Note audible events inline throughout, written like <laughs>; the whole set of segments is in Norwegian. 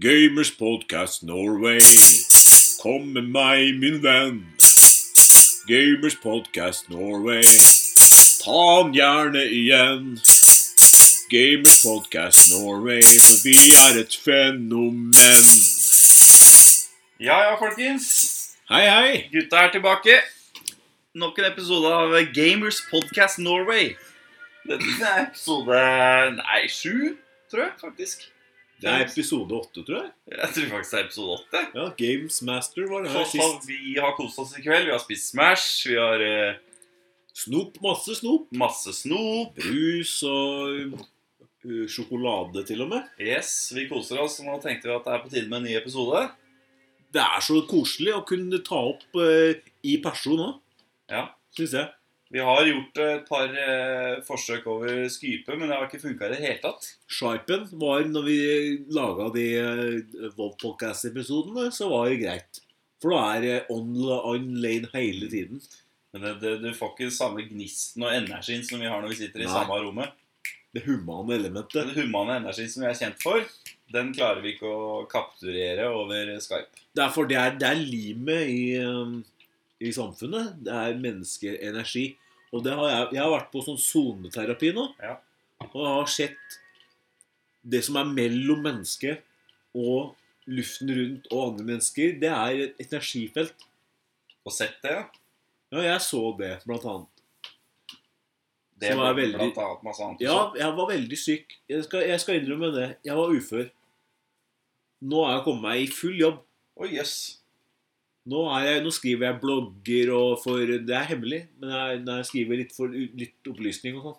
Gamers Podcast Norway. Kom med meg, min venn. Gamers Podcast Norway. Ta han gjerne igjen. Gamers Podcast Norway, for vi er et fenomen. Ja ja, folkens. Hei, hei. Gutta er tilbake. Nok en episode av Gamers Podcast Norway. Dette er episode nei, sju, tror jeg faktisk. Det er episode åtte, tror jeg. Jeg tror faktisk det er episode åtte. Ja, Games Master var det her Så- så sist. Vi har kost oss i kveld. Vi har spist Smash. Vi har eh, Snop, masse snop. masse snop. Brus og uh, sjokolade, til og med. Yes, vi koser oss. Nå tenkte vi at det er på tide med en ny episode. Det er så koselig å kunne ta opp eh, i person òg, Ja. syns jeg. Vi har gjort eh, et par eh, forsøk over Skype, men det har ikke funka i det hele tatt. Sharpen var når vi laga de eh, Vov-podcast-episodene, så var det greit. For da er det online hele tiden. Men det, det, du får ikke samme gnisten og energien som vi har når vi sitter i Nei. samme rommet. Det humane elementet. Den humane energien som vi er kjent for, den klarer vi ikke å kapturere over Skype. Det er, for det er, det er limet i, um, i samfunnet. Det er menneskeenergi. Og det har jeg, jeg har vært på sånn soneterapi nå. Ja. Og jeg har sett det som er mellom mennesket og luften rundt og andre mennesker. Det er et energifelt. Og sett det, ja. Ja, jeg så det, blant annet. Det Som er var veldig- blant annet masse annet. Ja, også. jeg var veldig syk. Jeg skal, jeg skal innrømme det. Jeg var ufør. Nå er jeg kommet meg i full jobb. Oi, jøss. Nå, er jeg, nå skriver jeg blogger og for Det er hemmelig, men jeg, når jeg skriver litt, for, litt opplysning og sånn.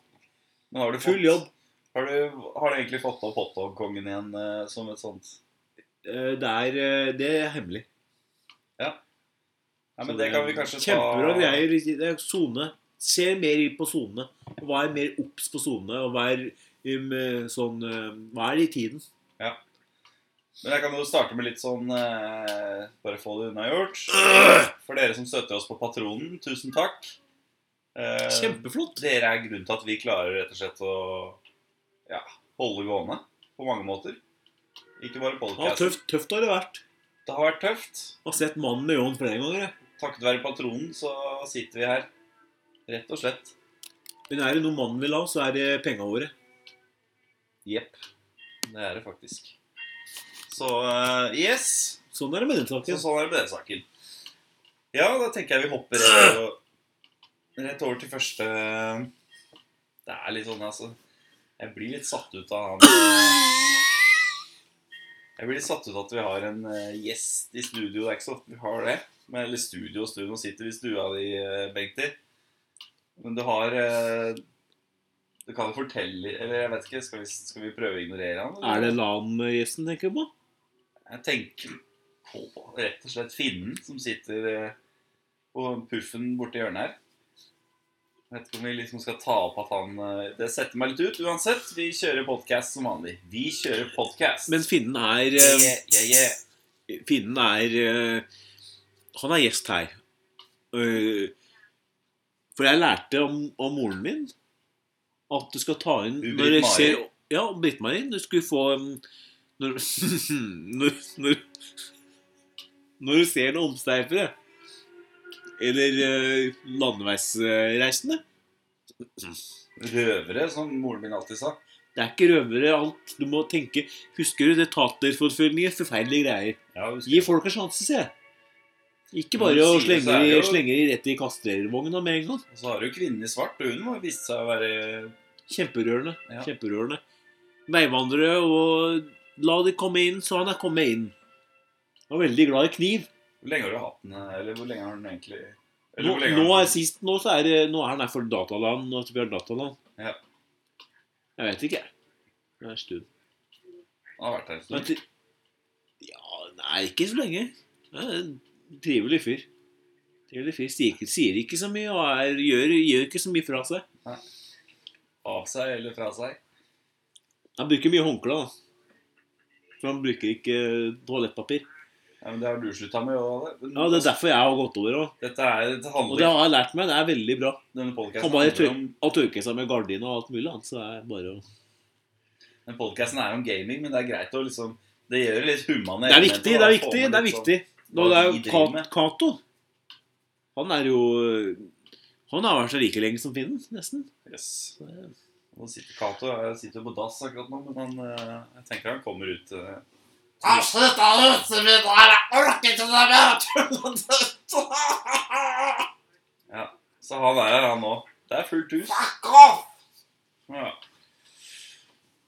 Men har du Full fått- jobb. Har du, har du egentlig fått opp hotdog-kongen igjen eh, som et sånt Eh, Det er, eh, det er hemmelig. Nei, men Så det kan vi kanskje ta Kjempebra greier. Det er sone. Se mer på sonene. Vær mer obs på sonene, og vær um, sånn eh, Vær i tiden. Men jeg kan jo starte med litt sånn eh, Bare få det unnagjort. <clears throat> For dere som støtter oss på Patronen, tusen takk. Eh, Kjempeflott. Dere er grunnen til at vi klarer rett og slett å ja, holde gående på mange måter. Ikke bare Ja, podcast. tøft, tøft har det vært. det har vært tøft. Jeg har sett mannen med ljåen flere ganger. Jeg. Takket være Patronen så sitter vi her. Rett og slett. Men er det noe mannen vil ha, så er det penga våre. Jepp. Det er det faktisk. Så eh, yes. Sånn er det med den Så saken. sånn er det med den saken. Ja, da tenker jeg vi hopper rett, over, rett over til første Det er litt sånn, altså Jeg blir litt satt ut av han eh, Jeg blir litt satt ut av at vi har en eh, gjest i studio. Det er ikke så ofte vi har det. Men, eller studio og studio. Nå sitter vi i stua di, eh, Bengti. Men du har eh, Du kan jo fortelle Eller jeg vet ikke, skal vi, skal vi prøve å ignorere han? eller? Er det LAN-gjesten tenker du på? Jeg tenker på rett og slett finnen som sitter eh, på puffen borti hjørnet her. Jeg vet ikke om vi liksom skal ta opp at han eh, Det setter meg litt ut. Uansett, vi kjører podcast som vanlig. Vi kjører podcast. Men finnen er yeah, eh, yeah, yeah, yeah. Finnen er eh, Han er gjest her. Eh, For jeg lærte om, om moren min at du skal ta inn når jeg Britt-Mari. ser Ja, Britt-Mari. Du skulle få em, når, <laughs> når, når, når du ser noen omsterpere eller eh, landeveisreisende Røvere, som moren min alltid sa. Det er ikke røvere alt. Du må tenke Husker du det taterforfølgninger? Forferdelige greier. Ja, Gi husker jeg. folk en sjanse, sier jeg. Ikke Men bare du å sier det, slenge så er de, det jo- slenge de rett i kastrervogna med en gang. Og så har du kvinnen i svart, og hun må- viste seg å være Kjemperørende. Ja. kjemperørende. Veivandrere og La de komme inn, så han er kommet inn. Han var veldig glad i kniv. Hvor lenge har du hatt den? Eller hvor lenge har den egentlig Nå, eller hvor lenge nå har er sist nå, så er, det- nå er han her for dataland. Nå vi har dataland. Ja. Jeg vet ikke, jeg. Det er en stund. den har vært her en Men, stund? til- ja, nei, ikke så lenge. Det er en trivelig fyr. Trivelig fyr. Sier, ikke- sier ikke så mye og er, gjør, gjør ikke så mye fra seg. Av seg eller fra seg? Han bruker mye håndkle, da. For han bruker ikke eh, toalettpapir. Ja, men det har du slutta med. Og, Ja, Det er derfor jeg har gått over òg. Dette er, dette Og handler det har jeg lært meg. Det er veldig bra. Denne Han podcasten bare handler tør, om, å tørke seg med gardina og alt mulig annet. Så det er bare å denne podcasten er om gaming, men det er greit å liksom Det gjør det litt humane. Det er viktig, det er viktig. det er sånn- viktig. Nå, det er jo liksom Hva de driver Ka- med. Cato. Han er jo eh, Han har vært så like lenge som finnen, nesten. Yes. Nå sitter Cato jeg sitter på dass akkurat nå, men han, eh, jeg tenker han kommer ut eh, Slutt å ruse meg! Jeg orker ikke det mer! Så han er her, han òg. Det er fullt hus. Fuck off! Ja.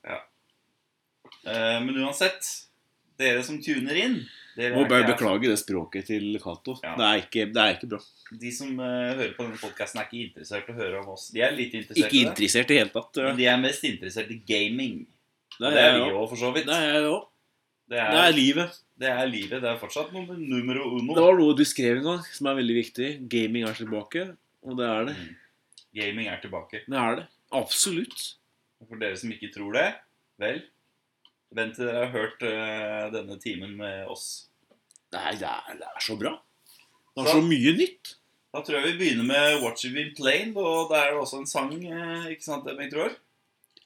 ja. Eh, men uansett, dere som tuner inn dere Må er bare ikke- beklage det språket til Cato. Ja. Det, er ikke- det er ikke bra. De som eh, hører på denne podkasten, er ikke interessert i å høre om oss. De er litt interessert Ikke i det, interessert i det hele tatt. men de er mest interessert i gaming. Det det er jeg vi også. òg, for så vidt. Det er jeg òg. Det Det er, er livet. det er livet. Det er fortsatt nummer, numero uno. Det var noe du skrev en gang som er veldig viktig. Gaming er tilbake. Og det er det. Mm. Gaming er tilbake. Det er det. Absolutt. For dere som ikke tror det, vel Vent til dere har hørt eh, denne timen med oss. Nei, det er, det er så bra. Det er Så- så mye nytt. Da tror jeg vi begynner med What You Will Plain, og det er jo også en sang, eh, ikke sant, Bengt Roar?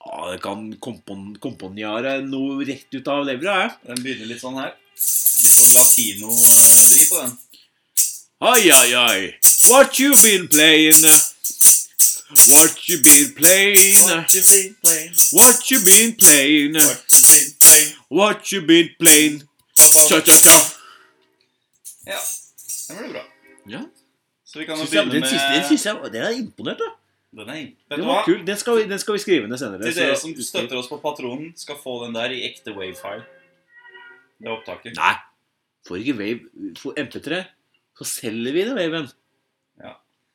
Ja, det kan kompon- komponjere noe rett ut av levra, jeg. Den begynner litt sånn her. Litt sånn latino-vri eh, på den. Ai, ai, ai. What you been playing? What you been playing? you been playing, What you been playing? what you been playing, What you been playing? pappa. Cha-cha-cha. Ja, den ble bra. Ja. Så vi kan jo Syns jeg- begynne Den med... siste, den siste jeg, den er jeg imponert, da. Den er Vet Den du var hva? kul. Den skal, vi- den skal vi skrive ned senere. Til så- dere som støtter oss på patronen, skal få den der i ekte wavefile. Det er opptaket. Nei. Får ikke Wave for MP3, så selger vi den Waven. Ja.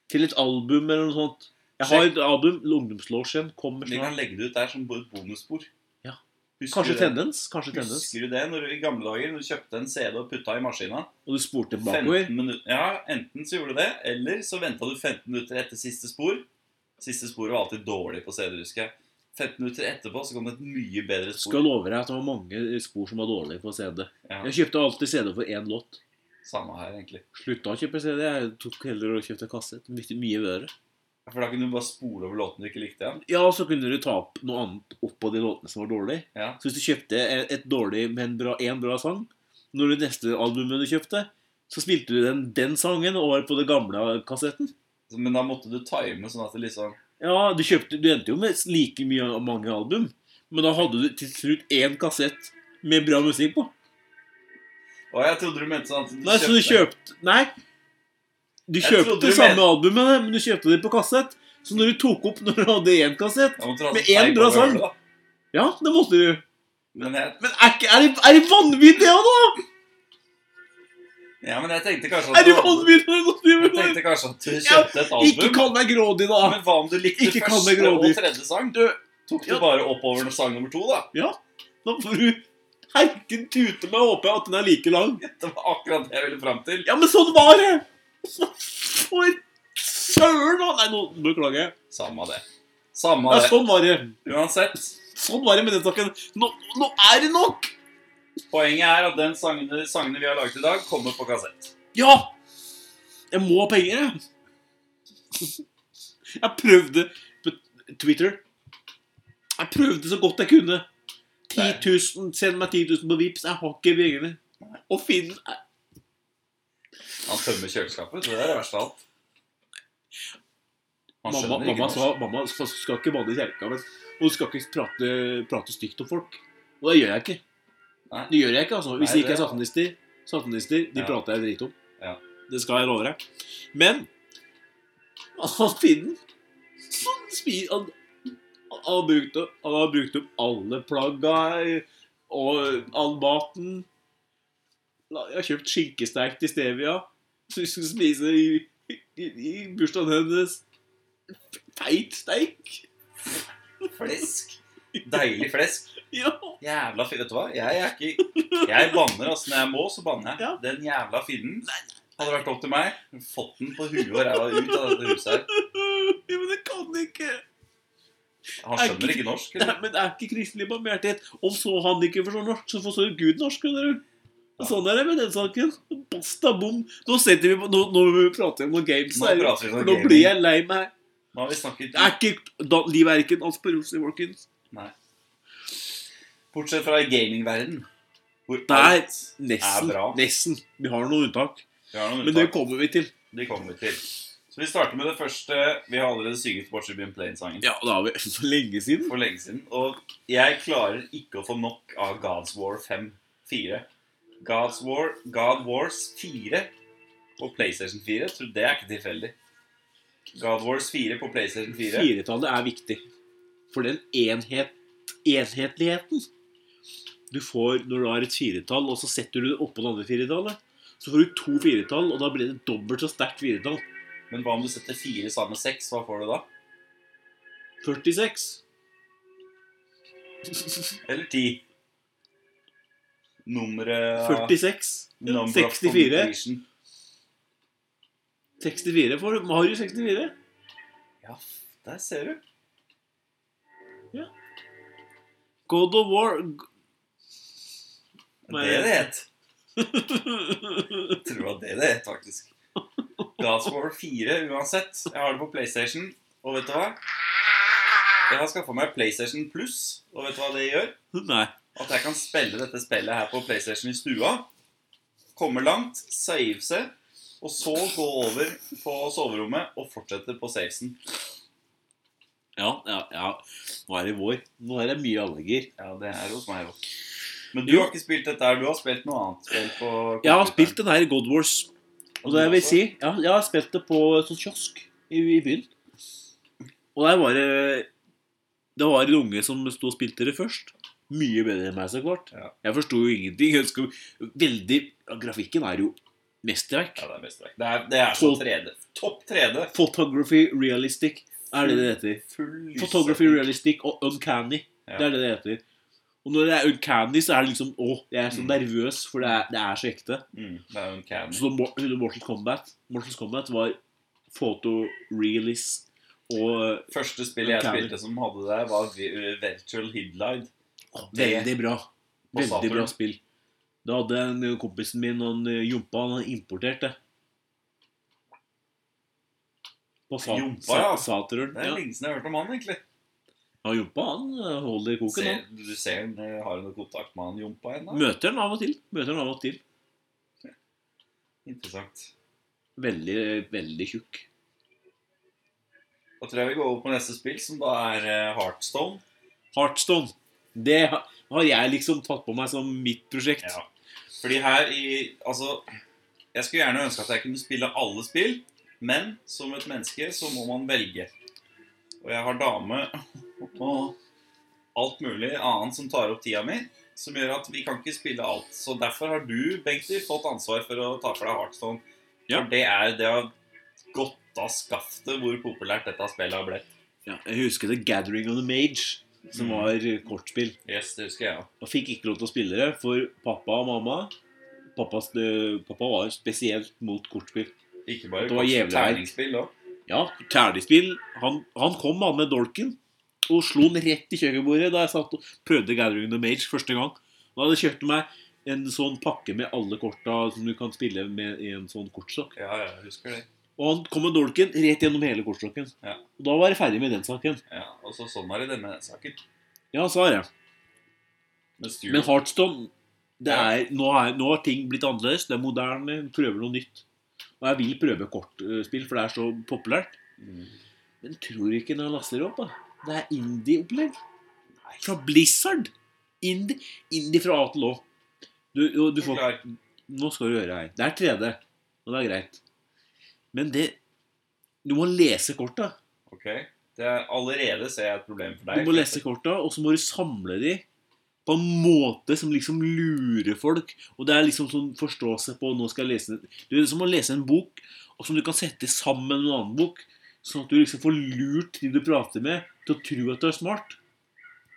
Til et album eller noe sånt. Jeg har et album. Ungdomslosjen kommer Vi snart. kan legge det ut der som et bonusspor. Ja. Husker Kanskje du det? Tendens. Kanskje tendens. Husker du det når du, i gamle dager når du kjøpte en CD og putta i maskina? Og du spurte 15 bakover. minutter- ja, Enten så gjorde du det, eller så venta du 15 minutter etter siste spor. Siste sporet var alltid dårlig på CD, husker jeg. 15 minutter etterpå så kom det et mye bedre spor. Skal love deg at det var mange spor som var dårlige på CD. Ja, Jeg kjøpte alltid CD for én låt. Samme her, egentlig. Slutta å kjøpe CD. Jeg tok heller og kjøpte kassett. Mye, mye bedre. For da kunne du bare spole over låten du ikke likte igjen. Ja, og så kunne du ta opp noe annet oppå de låtene som var dårlige. Ja. Så hvis du kjøpte et, et dårlig, men bra, en bra sang, når det neste albumet du kjøpte, så spilte du den, den sangen over på den gamle kassetten. Så- Men da måtte du time sånn at det liksom Ja, du, kjøpte, du endte jo med like mye mange album, men da hadde du til slutt én kassett med bra musikk på. Å, jeg trodde du mente sånn at du Nei, så du kjøpte Nei. Du Jeg trodde kjøpte du samme men- albumet, men du kjøpte det på kassett. Så når du tok opp når du hadde én kassett Jeg måtte ha med sånn en teip bra over sang. øret, da. Ja, det måtte du. Men jeg, Men er, ikke, er, det, er det vanvittig, ja, da? ja, men jeg tenkte kanskje Er at det du, vanvittig? når du jeg driver med det? tenkte kanskje at du Ja, kjøpte et Ikke album. kall meg grådig, da. Men hva om du likte Ikke kall meg første og grådig. tredje sang? Du- Tok du Ja. bare oppover til sang nummer to, da? <laughs> Da får du herken tute meg og håpe at den er like lang. Det var akkurat det jeg ville fram til. Ja, men sånn var det! For søren! da. Nei, nå beklager jeg. Samme det. Samme Nei, det. sånn var det. Uansett, Sånn var det med den saken. Nå, nå er det nok! poenget er at den sangene, sangene vi har laget i dag, kommer på kassett. Ja! Jeg må ha penger, jeg. Jeg prøvde på Twitter. Jeg prøvde så godt jeg kunne. 10 000, Send meg 10 000 på Vipps. Jeg har ikke pengene. Og Finn Han tømmer kjøleskapet. Det er det verste av alt. Han Mamma, skjønner mamma ikke sa mamma skal, skal ikke banne i kjelka, men og du skal ikke prate, prate stygt om folk. Og det gjør jeg ikke. Nei. Det gjør jeg ikke, altså. Hvis Nei, de ikke er det- satanister, satanister, de Ja. prater jeg dritt om. Ja. Det skal jeg love deg. Men altså, han finnen han, spi- han, han, har brukt opp, han har brukt opp alle plagga og all maten. La- Jeg har kjøpt skinkesteik til Stevia, som vi skulle spise i, i, i bursdagen hennes. Feit steik! <laughs> Flesk. Deilig flesk. Ja. Jævla fin. Vet du hva? Jeg <laughs> er ikke Jeg banner, altså. Når jeg må, så banner jeg. Ja. Den jævla finnen. Hadde det vært opp til meg, fått den på huet og ræva ut av dette huset her. Ja, Men det kan ikke Han skjønner ikke norsk. Nei, Eller? Men det er ikke kristelig barmhjertighet. Om så han ikke forstår norsk, så forstår Gud norsk. skjønner du? Og Sånn er det med den saken. Basta bom. Nå setter vi på, nå, nå må vi prate om noen games. Nå Nå, prater vi om nå gaming. blir jeg lei meg. Nå har vi snakket Det er ikke da, Livet er ikke en dans på roser, folkens. Bortsett fra i gamingverden Hvor Der! alt Nesten. er bra. Nesten. Vi har noen unntak. Vi har noen Men det unntak. kommer vi til. De kommer vi til. Så vi starter med det første. Vi har allerede synget Watcher Been Plain-sangen Ja, det har vi <laughs> for lenge siden. for lenge siden. Og jeg klarer ikke å få nok av Gods War 5. 4. Gods War, God Wars 4 og PlayStation 4. Jeg tror det er ikke tilfeldig. God Wars 4 på PlayStation 4. Firetallet er viktig. For den enhet, enhetligheten du får når du har et firetall, og så setter du det oppå det andre firetallet. Så får du to firetall, og da blir det dobbelt så sterkt firetall. Men hva om du setter 4 sammen med 6? Hva får du da? 46. Eller 10? Nummeret 46. number of 64. completion. 64 får du. Mario 64. Ja, der ser du. God of War <laughs> Det er det det het. Jeg tror det var det det het, faktisk. Gods of War 4 uansett. Jeg har det på PlayStation, og vet du hva? Jeg har skaffa meg PlayStation Pluss, og vet du hva det gjør? Nei. At jeg kan spille dette spillet her på PlayStation i stua. Komme langt, save seg, og så gå over på soverommet og fortsette på savesen. Ja, ja, ja. Nå er det vår. Nå er det mye allergier. Ja, det er hos meg òg. Men du har ikke spilt dette her. Du har spilt noe annet spill på Jeg har computeren. spilt den her i God Wars. Og det jeg vil si, ja, jeg har spilt det på en sånn kiosk i, i byen. Og der var det Det var en unge som sto og spilte det først. Mye bedre enn meg, så klart. Ja. Jeg forsto jo ingenting. Jeg ønsker, veldig, ja, grafikken er jo mesterverk. Ja, det er mesterverk. Det er, det er så 3D. Topp 3D. Photography realistic er det det heter. Full lyssetting. Photography realistic og uncanny. Ja. Det er det det heter. Og når det er uncanny, så er det liksom Å, jeg er så Mm. nervøs, for det er, det er så ekte. Mm, det er jo en Og candy. Så Mor- under Mortal Kombat Mortal Kombat var photorealist og Første spillet jeg Uncanny. spilte som hadde det, var Vi- uh, Virtual Hidlide. å, det- veldig bra. på Saturn. Veldig bra spill. Da hadde en eh, kompisen min og en eh, jompa han importerte. På sa Jompa, sa ja. Saturn. Det er Ja. lenge siden jeg har hørt om han, egentlig. ja, jompa han eh, holder koken. Ser, han. du ser han uh, har noe kontakt med han Jompa ennå. Møter han av og til. Møter han av og til. Interessant. Veldig, veldig tjukk. Da tror jeg vi går over på neste spill, som da er uh, Heartstone. Heartstone. Det ha- har jeg liksom tatt på meg som mitt prosjekt. Ja. Fordi her i Altså, jeg skulle gjerne ønske at jeg kunne spille alle spill, men som et menneske så må man velge. Og jeg har dame <laughs> og alt mulig annet som tar opp tida mi, som gjør at vi kan ikke spille alt. Så derfor har du, Bengter, fått ansvar for å ta for deg Heartstone. Ja. For det er det har gått av skaftet hvor populært dette spillet har blitt. Ja, jeg husker The Gathering of the Mage, som Mm. var eh, kortspill. Yes, det husker jeg òg. Og fikk ikke lov til å spille det, for pappa og mamma Pappas, eh, Pappa var spesielt mot kortspill. Ikke bare Det var jævlig her. terningsspill òg. Ja, ternespill. Han, han kom han med dolken og slo den rett i kjøkkenbordet da jeg satt og prøvde Gathering of the Mage første gang. Da hadde jeg kjøpt meg en sånn pakke med alle korta som du kan spille med i en sånn kortstokk. Ja, ja, jeg husker det. Og han kom med dolken rett gjennom hele kortstokken. Ja. Og da var jeg ferdig med den saken. Ja, og så sånn er det i denne saken. Ja, så har jeg. Men Stuart- Men Heartstone det Ja. er, nå, er, nå har ting blitt annerledes. Det er moderne. Prøver noe nytt. Og jeg vil prøve kortspill, for det er så populært. Mm. Men tror ikke når jeg laster det opp, da. Det er indie-opplegg. Nei. Fra Blizzard. Indie, indie fra A til Å. Du, og du får, Klar. nå skal du høre her. Det er 3D, og det er greit. Men det Du må lese korta. Ok. Det er, allerede ser jeg et problem for deg. Du må lese korta, og så må du samle de på en måte som liksom lurer folk. Og det er liksom sånn forståelse på Nå skal jeg lese den. Du er som å lese en bok og som du kan sette sammen med en annen bok. Sånn at du liksom får lurt de du prater med, til å tro at du er smart.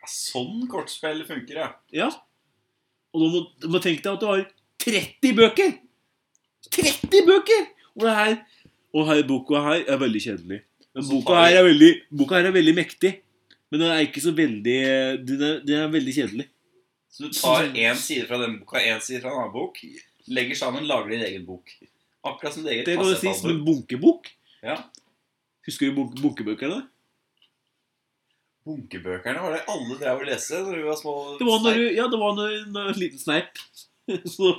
Sånn kortspill funker, ja. Ja. Og da må, du må tenke deg at du har 30 bøker! 30 bøker! Og det her, og her boka her er veldig kjedelig. Men Så boka tar vi- her, er veldig, boka her er veldig mektig. Men den er ikke så veldig Den er, den er veldig kjedelig. Så Sånn du tar én side fra den boka, én side fra en annen bok, legger sammen, lager din egen bok. Akkurat som ditt eget Det kan du si som kassettalbum. en bunkebok. Ja. Husker du bunk bunkebøkene? bunkebøkene var det alle drev å lese når vi var små. Det var når du, ja, det var når, når en liten sneip. <laughs> Så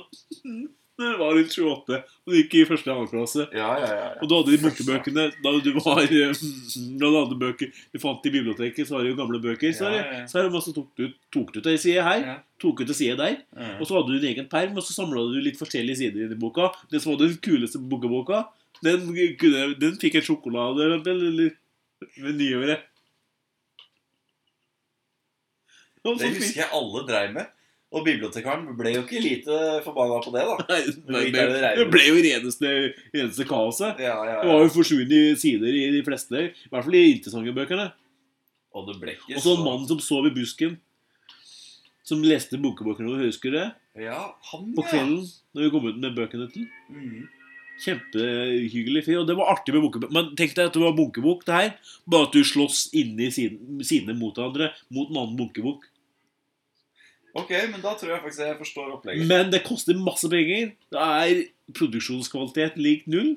når du var rundt 28 og du gikk i første eller annen klasse. Ja, ja, ja. ja. Og du hadde de bunkebøkene da du var <laughs> eh, Da du hadde bøker du fant i biblioteket, så var det jo gamle bøker. Så, Ja, er det- ja, ja. så er det masse tok du tok du til ei side her, Ja. tok du til side der. Mm. Og så hadde du din egen perm, og så samla du litt forskjellige sider i den boka. Den som hadde den kuleste bunkeboka, den, kunne- den fikk en sjokolade eller eller- ved nyåret. Og Det så fikk- husker jeg alle dreiv med. Og bibliotekaren ble jo ikke lite forbanna på det, da. Nei, Det nei, gikk det, der det det ble jo reneste, reneste kaoset. Ja, ja, Det var ja. jo forsvunne sider i de fleste, i hvert fall i interessante bøkene. Og det ble ikke Og så en mann som sov i busken, som leste bunkebøkene våre, husker du det? Ja, han, På ja. kvelden, når vi kom ut med bøkene til. Mm. Kjempehyggelig fyr, og det var artig med bunkebok. Men tenk deg at det var bunkebok, det her. Bare at du slåss inni siden- sidene mot hverandre, mot en annen bunkebok. Ok, men da tror jeg faktisk jeg forstår opplegget. Men det koster masse penger. Det er produksjonskvalitet lik null.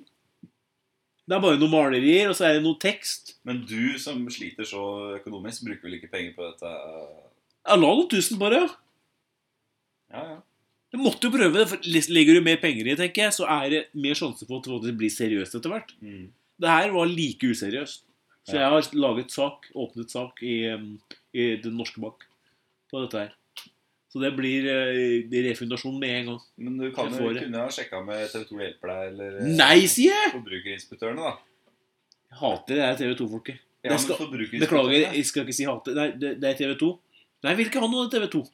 Det er bare noen malerier, og så er det noe tekst. Men du som sliter så økonomisk, bruker vel ikke penger på dette? Ja, la noen tusen på det. ja. Ja, ja. Du måtte jo prøve det. for Legger du mer penger i, tenker jeg, så er det mer sjanse for at det blir seriøst etter hvert. Mm. Det her var like useriøst. Så jeg har laget sak, åpnet sak i, um, i Den norske bank på dette her. Så det blir eh, refundasjon med en gang. Men du kan Jeg jo får det. kunne ha sjekka med TV 2 hjelper deg, eller eh, Nei, sier jeg! Forbrukerinspektørene, da. Jeg hater det her TV 2-folket. Ja, Jeg skal- men Beklager, forbrukerinspektørene- jeg skal ikke si hate. Nei, det, det er TV 2. Nei, jeg vil ikke ha noe TV 2.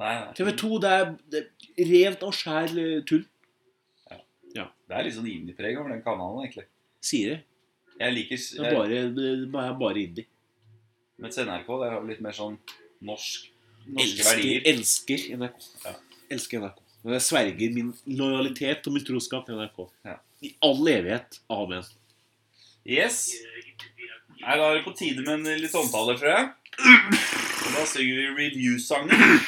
Nei, nei. TV 2 det er, det er rent og skjær eh, tull. Det er litt sånn indie-preg over den kanalen, egentlig. Sier det. Jeg liker Det er bare, det er bare indie. Mens NRK det er jo litt mer sånn norsk. Norske Elsker, verdier. elsker NRK. Ja. Elsker NRK. Men jeg sverger min lojalitet og min troskap til NRK. Ja. I all evighet. Amen. Yes. Nei, da er det på tide med en litt omtale, tror jeg. Og Da synger vi review-sangen.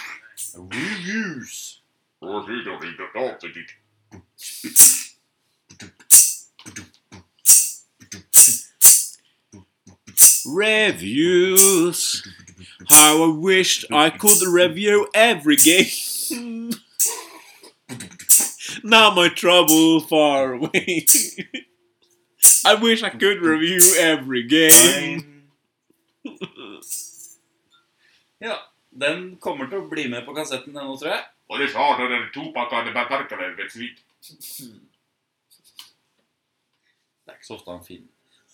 Reviews. Reviews. How I wished I could review every game. now my trouble far away. I wish I could review every Ehm. game. Ja. Den kommer til å bli med på kassetten ennå, tror jeg. Og det svarer den topakka det batarkene ved svikt. Det er ikke så ofte han finner.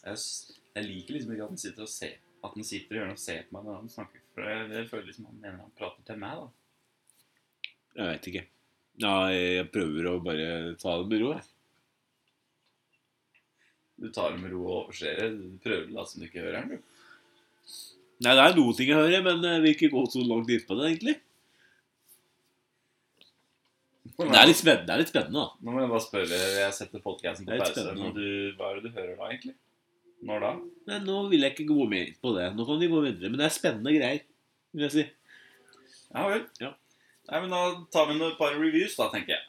Jeg, s- jeg liker liksom ikke at han sitter og ser At han sitter i hjørnet og ser på meg når han snakker. For jeg, jeg føler liksom han mener han prater til meg, da. Jeg veit ikke. Ja, jeg prøver å bare ta det med ro. jeg. Du tar det med ro og overser det. Du prøver å late som du ikke hører han, du. Nei, det er noen ting jeg hører, men jeg vil ikke gå så langt inn på det, egentlig. Det er litt spennende, det er litt spennende da. Nå må jeg bare spørre. Jeg setter podcasten på Det er litt pause. spennende. Men du, hva er det du hører da, egentlig? Når da? Nei, nå vil jeg ikke gå mer inn på det. Nå kan vi gå videre. Men det er spennende greier, vil jeg si. Ja vel. Ja. Nei, men da tar vi noen- et par reviews, da, tenker jeg.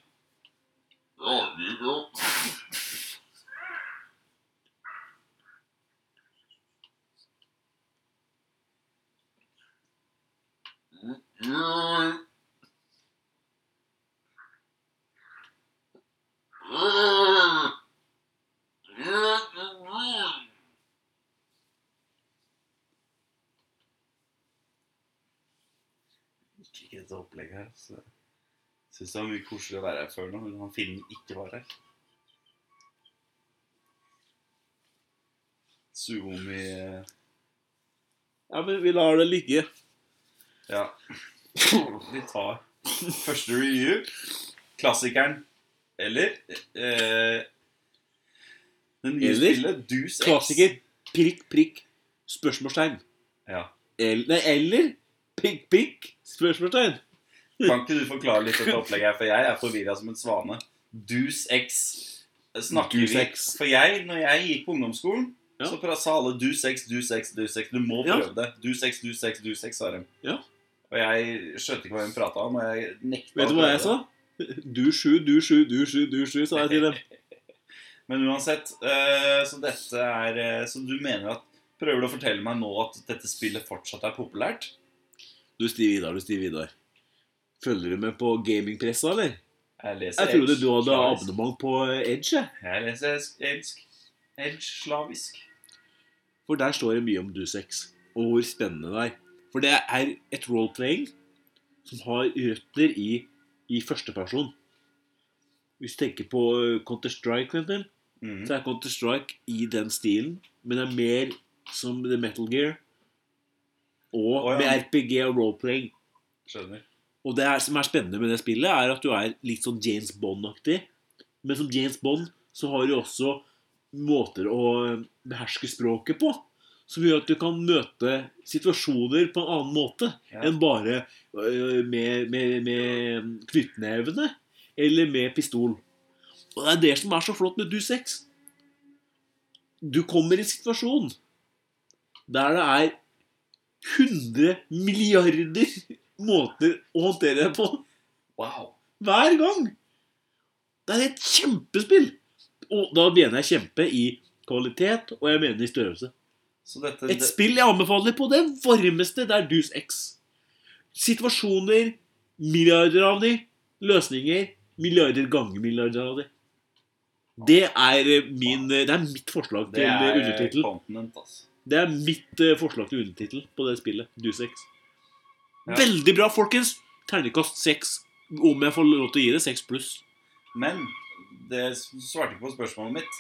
Liker ikke dette opplegget her. Så jeg synes det var mye koseligere å være her før nå, men han Finn ikke var her. Suomi eh, Ja, men vi lar det ligge. Ja. Vi tar første review. Klassikeren. Eller eh, Det nye Eller? spillet Dus X. Klassiker. Prikk, prikk, spørsmålstegn. Ja. El, nei, eller prikk, prikk, spørsmålstegn. Kan ikke du forklare litt dette opplegget her, for jeg er forvirra som en svane. Dus X snakker Dus vi X. For jeg, når jeg gikk på ungdomsskolen, Ja. så pra- sa alle Dus X, Dus X, Dus X. Du må Ja. prøve det. Dus X, Dus X, Dus X, sa de. Ja. Og jeg skjønte ikke hva hun prata om, og jeg nekta Vet å du hva prøve jeg det. sa? Du sju, du sju, du sju, du sju, sa jeg til dem. Men uansett, eh, så dette er eh, Så du mener at Prøver du å fortelle meg nå at dette spillet fortsatt er populært? Du Stiv Vidar, du Stiv Vidar. Følger du med på gamingpressa, eller? Jeg leser Jeg trodde du hadde slavisk. abonnement på Edge. jeg. Jeg leser es- elsk. Edge slavisk. For der står det mye om Dusex, og hvor spennende det er. For det er et roleplaying som har røtter i, i førsteperson. Hvis du tenker på eh, Counter-Strike, for eksempel, Mhm. så er Counter-Strike i den stilen, men det er mer som The Metal Gear. Og Å, ja. med RPG og roleplaying. Skjønner. Og det er, som er spennende med det spillet, er at du er litt sånn James Bond-aktig. Men som James Bond så har du også måter å beherske språket på. Som gjør at du kan møte situasjoner på en annen måte Ja. enn bare øh, med, med, med knyttnevene eller med pistol. Og det er det som er så flott med Du6. Du kommer i en situasjon der det er 100 milliarder måter å håndtere det på Wow. hver gang. Det er et kjempespill. Og da mener jeg kjempe i kvalitet, og jeg mener i størrelse. Så dette Et det, spill jeg anbefaler på det varmeste, det er Deuce X. Situasjoner, milliarder av de, løsninger, milliarder ganger milliarder av de. Det er, eh, min, eh, det er mitt forslag til det eh, er undertittel. continent, altså. Det er mitt eh, forslag til undertittel på det spillet. Deuce X. Ja. Veldig bra, folkens! Terningkast 6. Om jeg får lov til å gi det 6 pluss. Men det s- svarte ikke på spørsmålet mitt.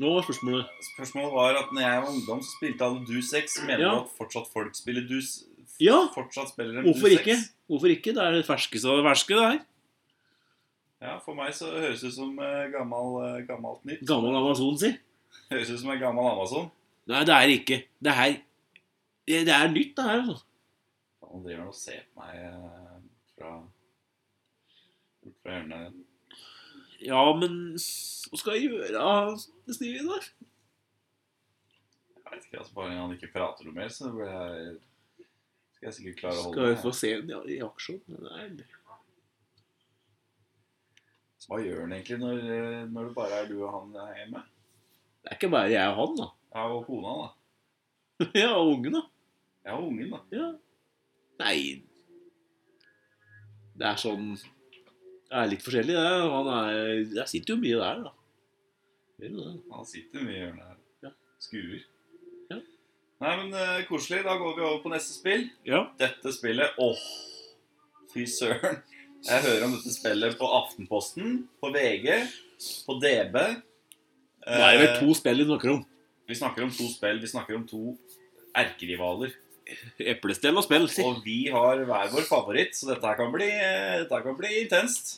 Nå var spørsmålet Spørsmålet var at når jeg var ungdom, så spilte alle Dus 6. Mener Ja. du at fortsatt folk spiller Dus? f- Ja. Fortsatt spiller en Hvorfor Dus ikke? 6? Hvorfor ikke? Det er det ferskeste av det ferske. det her Ja, for meg så høres det ut som eh, gammel, eh, gammelt nytt. <laughs> Gammel Amazon, si. Høres ut som en gammel Amazon. Nei, det er det ikke. Det er, det det er nytt, det her. altså. Faen, Han driver og ser på meg eh, fra bort fra hjørnet. Ja, men hva skal jeg gjøre, Stiv Vidar? Jeg vet ikke, altså Bare han ikke prater noe mer, så blir jeg Skal jeg sikkert klare å holde Skal jeg meg. få se den i, i aksjon? Nei. Hva gjør han egentlig når, eh, når det bare er du og han der hjemme? Det er ikke bare jeg og han, da. <laughs> Ja, og kona, da. ja, og ungen, da. Ja, og ungen, da. Ja. Nei Det er sånn Det er litt forskjellig, det. Han er Jeg sitter jo mye der, da. Gjør jo det. Han sitter mye i hjørnet her. Ja. Skuer. Ja. Nei, men eh, koselig. Da går vi over på neste spill. Ja. Dette spillet Åh! Fy søren. Jeg hører om dette spillet på Aftenposten, på VG, på DB. Nå er det vel Eh, to spill vi snakker om. Vi snakker om to spill. Vi snakker om to erkerivaler. Eplestell og spill. si. Og vi har hver vår favoritt, så dette her kan bli, dette her kan bli intenst.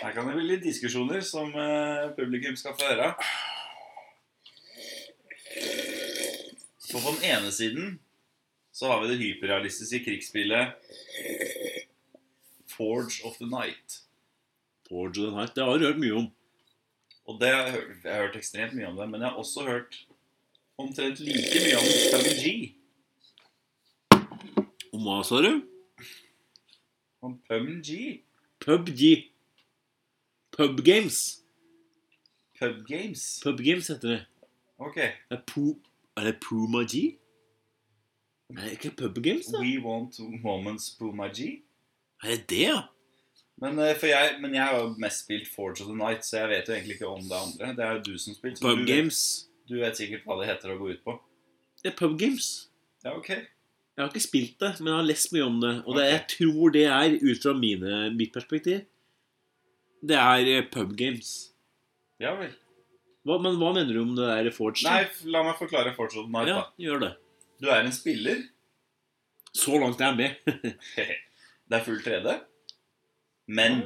Her kan det bli litt diskusjoner som eh, publikum skal få høre. Så på den ene siden så har vi det hyperrealistiske krigsspillet Forge of the Night. Forge of the Night. Det har du hørt mye om. Og det har jeg, hørt, jeg har hørt ekstremt mye om det, men jeg har også hørt omtrent like mye om PUBG. Om hva, sa du? Om PUBG. PubG. PubGames. PubGames. PubGames heter det. Ok. Det Er, po er det Puma G? Er det ikke PubGames, da? We want moments Puma G. Er det det, ja? Men, eh, for jeg, men jeg har jo mest spilt Forge of the Night, så jeg vet jo egentlig ikke om det andre. Det er jo du som spilte. så du vet, PubGames. du vet sikkert hva det heter å gå ut på. Det er PubGames. Ja, ok. Jeg har ikke spilt det, men jeg har lest mye om det. Og det, jeg tror det er, ut fra mine, mitt perspektiv, det er eh, PubGames. Ja vel. Hva, men hva mener du om det der Forge? Nei, f- la meg forklare Forge of the Night, ja, da. gjør det. Du er en spiller. Så langt er jeg med. Det er full 3D. Men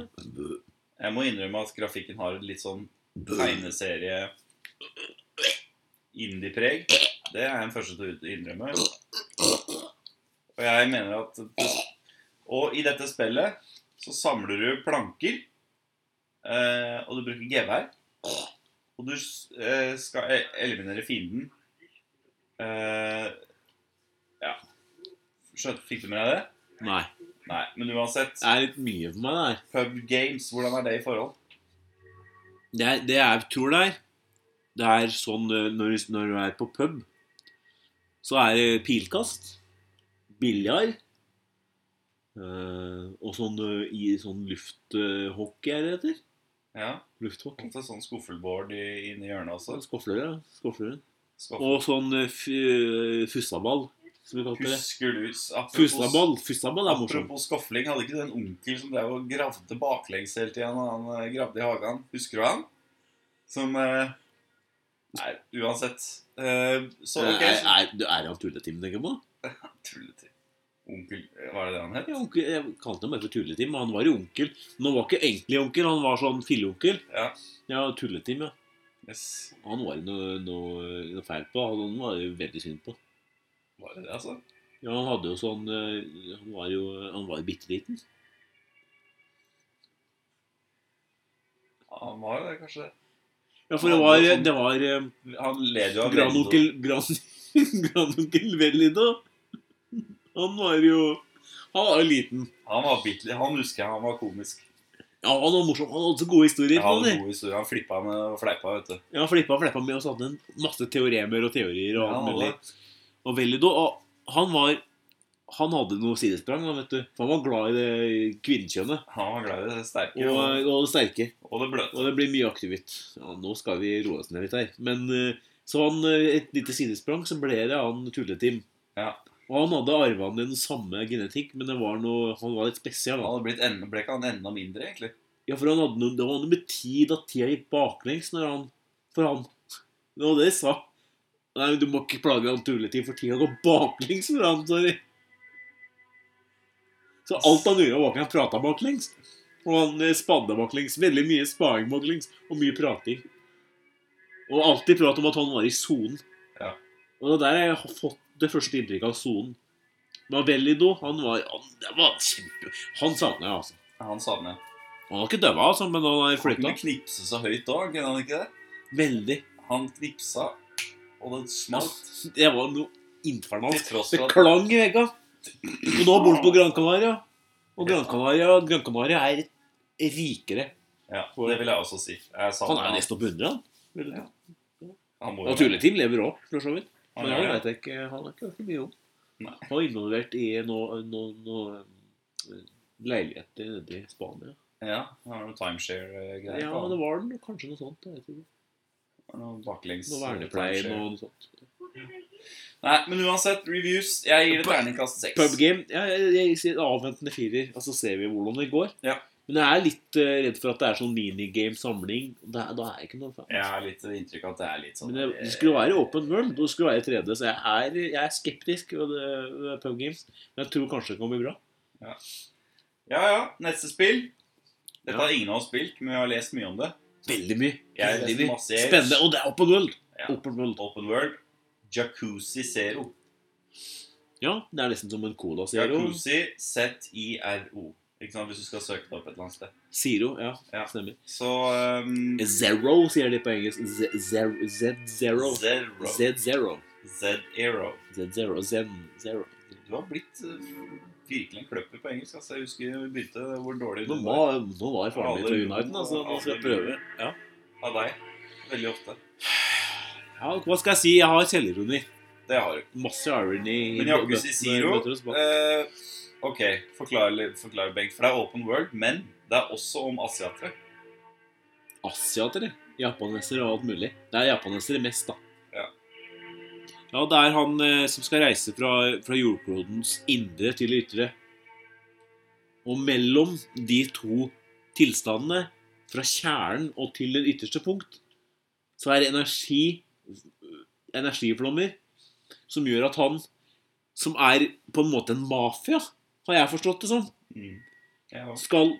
jeg må innrømme at grafikken har et litt sånn tegneserie indie-preg. Det er jeg den første til å innrømme. Og jeg mener at Og i dette spillet så samler du planker, eh, og du bruker gevær. Og du eh, skal e- eliminere fienden. Eh, ja Skjønt, Fikk du med deg det? Nei. Nei. Men uansett, Det er litt mye for meg, det her. Pub Games, hvordan er det i forhold? Det, er- det jeg tror det er, det er sånn eh, når, når du er på pub, Så er det pilkast, biljar eh, og sånn eh, i sånn lufthockey, er det det heter? Ja. Lufthockey? Ofte sånn skuffelboard i- inni hjørnet også. Skåfløre, ja. Skåfløre. Skuffel. Og sånn eh, fu- fussaball, som vi kalte det. Husker du apropos- Fussaball fussaball er morsomt. Apropos skofling, hadde ikke du en onkel som drev og gravde baklengs hele tida når han eh, gravde i hagen? Husker du han? Som eh, Nei, uansett. Eh, så ok, Er, så er, er det han Tulletim du tenker på? Tulletim. Onkel eh, Var det det han het? Ja, onkel, jeg kalte ham bare for Tulletim, men han var jo onkel. Men han var ikke egentlig onkel, han var sånn filleonkel. Ja. ja Tulletim, ja. Yes. Han var det noe, noe, noe feil på. Han han var det jo veldig synd på. Var det det, altså? Ja, han hadde jo sånn eh, Han var jo han var jo bitte liten. Ja, han var det, kanskje. Ja, for det Han var, hadde sånn- det var eh, Han led jo av grandonkel grand, <laughs> Grandonkel Vellido. Han var jo Han var jo liten. Han var bitte Han husker jeg, han var komisk. Ja, han var morsom. Han hadde så gode historier. Jeg Han, hadde det. gode historier. Han flippa med og fleipa, vet du. ja, flippa og flippa med oss. Hadde en masse teoremer og teorier og Ja, alt han mulig. hadde. Og Vellido, og han var Han hadde noe sidesprang, da, vet du. For han var glad i det kvinnekjønnet. Han var glad i det sterke Og, eh, og, og det sterke. og det bløte. Og det blir mye aktivitet. Ja, nå skal vi roe oss ned litt her. Men eh, så han, eh, et lite sidesprang, så ble det han Tulletim. Ja. Og han hadde arva den samme genetikk, men det var noe, han var litt spesiell. Han Han. hadde blitt enda, ble ikke han enda mindre, egentlig? Ja, for han hadde noe, det var noe med tid at tida gikk baklengs når han, for han. Det var det jeg sa. Nei, men du må ikke plage han Tulletim, for tida går baklengs for han, sorry. Så alt han gjorde, var ikke han prata baklengs. Og han eh, spadde baklengs. Veldig mye spaing baklengs, og mye prating. Og alltid prat om at han var i sonen. Ja. Og det er der jeg har fått det første inntrykket av sonen. Men Velido, han var, han, det var kjempe... Han savner jeg, altså. Han savner jeg. Han har ikke døva, altså, men han er Han kunne flytta. knipse så høyt òg, kunne han ikke det? Veldig. Han knipsa, og det smalt. Det var noe Til infernalt. tross Det for at klang i vegga. Og nå bor han på Gran Canaria. Og Gran Canaria, Gran Canaria er rikere. Ja, det vil jeg også si. Jeg Han savner er han. nesten å beundre, han. Han må jo være- Naturligteam lever òg, for så vidt. Han Men gjør han det. vet jeg ikke. Han har ikke hørt så mye om. Nei. Han var involvert i noen no, no, eh, leiligheter nede i Spania. Ja, han har noe timeshare-greier. Ja, det var den, kanskje noe sånt. Jeg vet ikke. Noe baklengs Noe vernepleie timeshare. og noe sånt. Nei, men uansett, reviews. Jeg gir det terningkast seks. Pubgame ja, jeg, jeg sier avventende firer, og så ser vi hvordan det går. Ja. Men jeg er litt eh, redd for at det er sånn minigame-samling. og Da, da er jeg ikke noe fan. Jeg har litt inntrykk av at det er litt sånn Men det, det skulle være open world, og det skulle være 3D, så jeg er, jeg er skeptisk ved eh, pub games. Men jeg tror kanskje det kan bli bra. Ja, ja. Neste spill. Dette Ja. har ingen av oss spilt, men vi har lest mye om det. Veldig mye. Jeg Veldig leste mye. masse jeg- Spennende. Og det er open world. Ja. Open world. Open World. Jacuzzi Zero. Ja, det er nesten som en cola zero. Jacuzzi Z-I-R-O. Ikke sant, Hvis du skal søke det opp et eller annet sted. Zero, ja. Ja. Stemmer. Så um, Zero, sier de på engelsk. Z- zer- Z-zero. Zero. Z-zero. Z-Ero. Z-zero. Z-zero. Du har blitt uh, virkelig en kløpper på engelsk. Altså. Jeg husker vi begynte hvor dårlig du Nå, var var- nå var faren min fra Uniten, altså. Nå skal jeg prøve. Ja. av deg. Veldig ofte. ja, hva skal jeg si? Jeg har selvironi. Det har du. Masse irony. Men Jacuzzi Zero eh, Ok, forklar, litt- forklar Bengt. For det er open world, men det er også om asiatere. Asiatere. Japanesere og alt mulig. Det er japanesere mest, da. Ja. Ja, det er han eh, som skal reise fra, fra jordklodens indre til ytre. Og mellom de to tilstandene, fra kjernen og til det ytterste punkt, så er det energi energiflommer som gjør at han, som er på en måte en mafia, har jeg forstått det som, Mm. Ja. skal,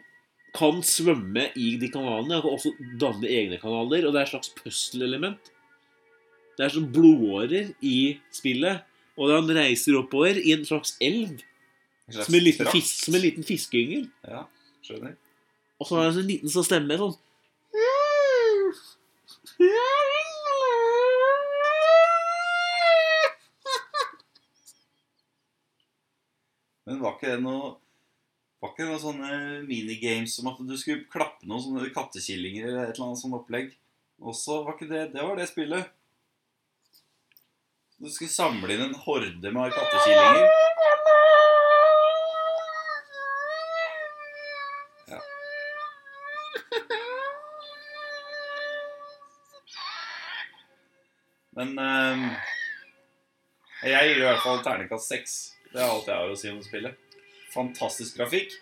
kan svømme i de kanalene og kan også danne egne kanaler. Og det er et slags puzzle-element. Det er som blodårer i spillet. Og han reiser oppover i en slags elv som en liten, fis, som en liten fiskeyngel. Ja, skjønner. Og så er det en liten sånn stemme sånn Men var ikke det noe var ikke det noen sånne minigames som at du skulle klappe noen sånne kattekillinger eller et eller annet sånt opplegg? Også var ikke det Det var det spillet. Du skal samle inn en horde med kattekillinger. Ja. Men eh, jeg gir i hvert fall terningkast seks. Det er alt jeg har å si om spillet. Fantastisk grafikk.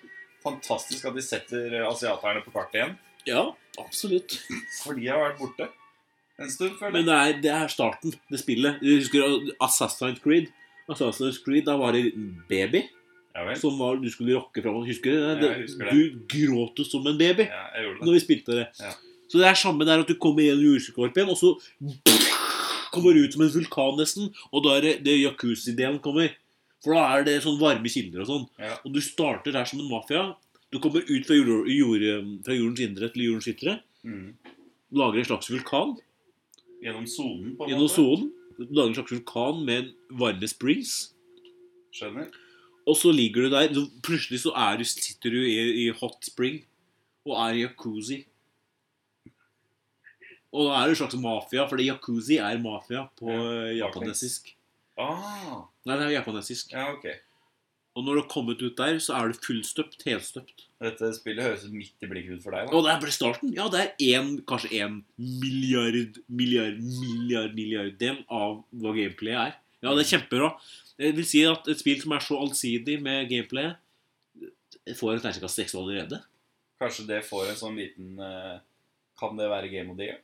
Fantastisk at de setter eh, asiaterne på kartet igjen. Ja, absolutt. For de har vært borte en stund, føler jeg. Men det er, det er starten, det spillet. Du husker Assassin's Creed? Assassin's Creed, Da var det baby Ja vel. som var, du skulle rocke fram. Husker du det? Ja, jeg husker det. Du gråt jo som en baby Ja, jeg gjorde det. når vi spilte det. Ja. Så det er samme der at du kommer gjennom jordskorpen, og så kommer du ut som en vulkan nesten. Og da er det, det jacuzzi-delen kommer. For da er det sånn varme kilder og sånn. Ja. Og du starter her som en mafia. Du kommer ut fra, jord, jord, fra jordens indre til jordens ytre. Mm. Lager en slags vulkan Gjennom sonen, på en gjennom måte. sonen. Lager en slags vulkan med en varme springs. Skjønner. Og så ligger du der, så plutselig så er du, sitter du i, i hot spring og er i jacuzzi. Og da er du en slags mafia, fordi jacuzzi er mafia på eh, japanesisk. Ah, Nei, det er japanesisk. ja, ok. Og når du har kommet ut der, så er du fullstøpt, helstøpt. Dette spillet høres ut midt i blikket ut for deg. da. Og der ble starten. Ja, det er en, kanskje en milliard, milliard, milliard, milliarddel av hva gameplayet er. Ja, det er kjempebra. Jeg vil si at et spill som er så allsidig med gameplayet, får en terningkast seks allerede. Kanskje det får en sånn liten eh, Kan det være Game of the Year?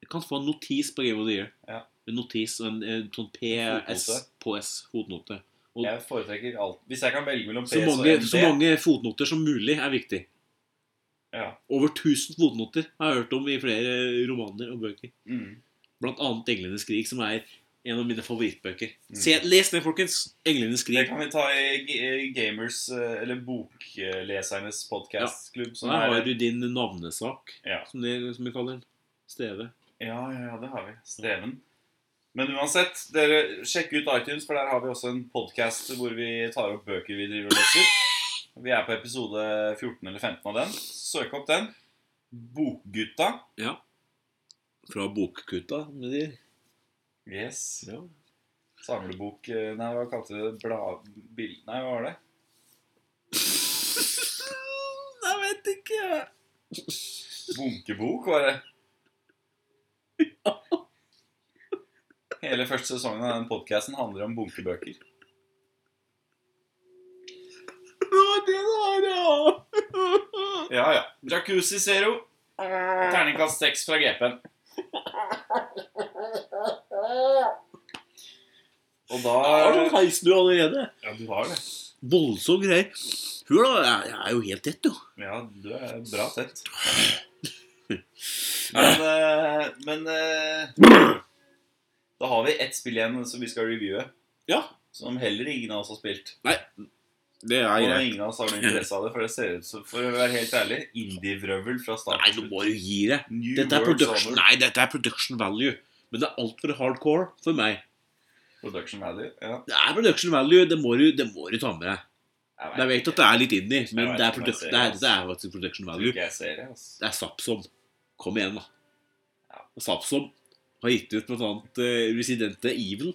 Du kan få en notis på Game of the Year. Ja. En notis, en, en sånn PS på S, fotnote. Og- Jeg foretrekker alt. Hvis jeg kan velge mellom PS Så og mange, MD så mange fotnoter som mulig er viktig. Ja. Over 1000 fotnoter har jeg hørt om i flere romaner og bøker. mm. Blant annet 'Englenes krig', som er en av mine favorittbøker. Mm. Se, les den, folkens! 'Englenes Det krig'. kan vi ta i G- Gamers, eh, eller Boklesernes podcastklubb. Så som der har er- du din navnesak, sånn Ja. som, det, som vi kaller den. Steve. Ja, ja, ja, det har vi. Steven. Men uansett, dere sjekk ut iTunes, for der har vi også en podkast hvor vi tar opp bøker vi driver og leser. Vi er på episode 14 eller 15 av den. Søk opp den. Bokgutta. Fra Bokkutta. Med de. Yes. Ja. <laughs> Samlebok eh, Nei, hva kalte du det? Blad... Bild... Nei, hva var det? Jeg vet ikke. Bunkebok, var det? Hele første sesongen av den podkasten handler om bunkebøker. Det var det det var, ja. Ja, ja. Jacuzzi Zero. Terningkast seks fra GP-en. Og da <laughs> Har du heisen du allerede? Ja, du har det. Voldsomme greier. Hør da, jeg, jeg er jo helt tett, jo. Ja, du er bra tett. Men, eh, men eh, Da har vi ett spill igjen som vi skal reviewe. Ja. Som heller ingen av oss har spilt. Det er Og ingen av oss har noen interesse av det, for det ser ut som For å være helt ærlig, indie-vrøvel fra starten. Nei, nå må du gi deg. New Dette er World production, Summer. nei, dette er production value. Men det er altfor hardcore for meg. Production Value. Ja. Det er production value, det må du, det må du ta med deg. Jeg Jeg vet at det er litt inni, men Jeg det er, vet ikke om jeg production, ser det det, er, altså. det er faktisk production tror value. ikke jeg ser det. Altså. Det er Sapsom. Kom igjen, da. Ja. Sapsom har gitt ut blant annet eh, Resident Evil,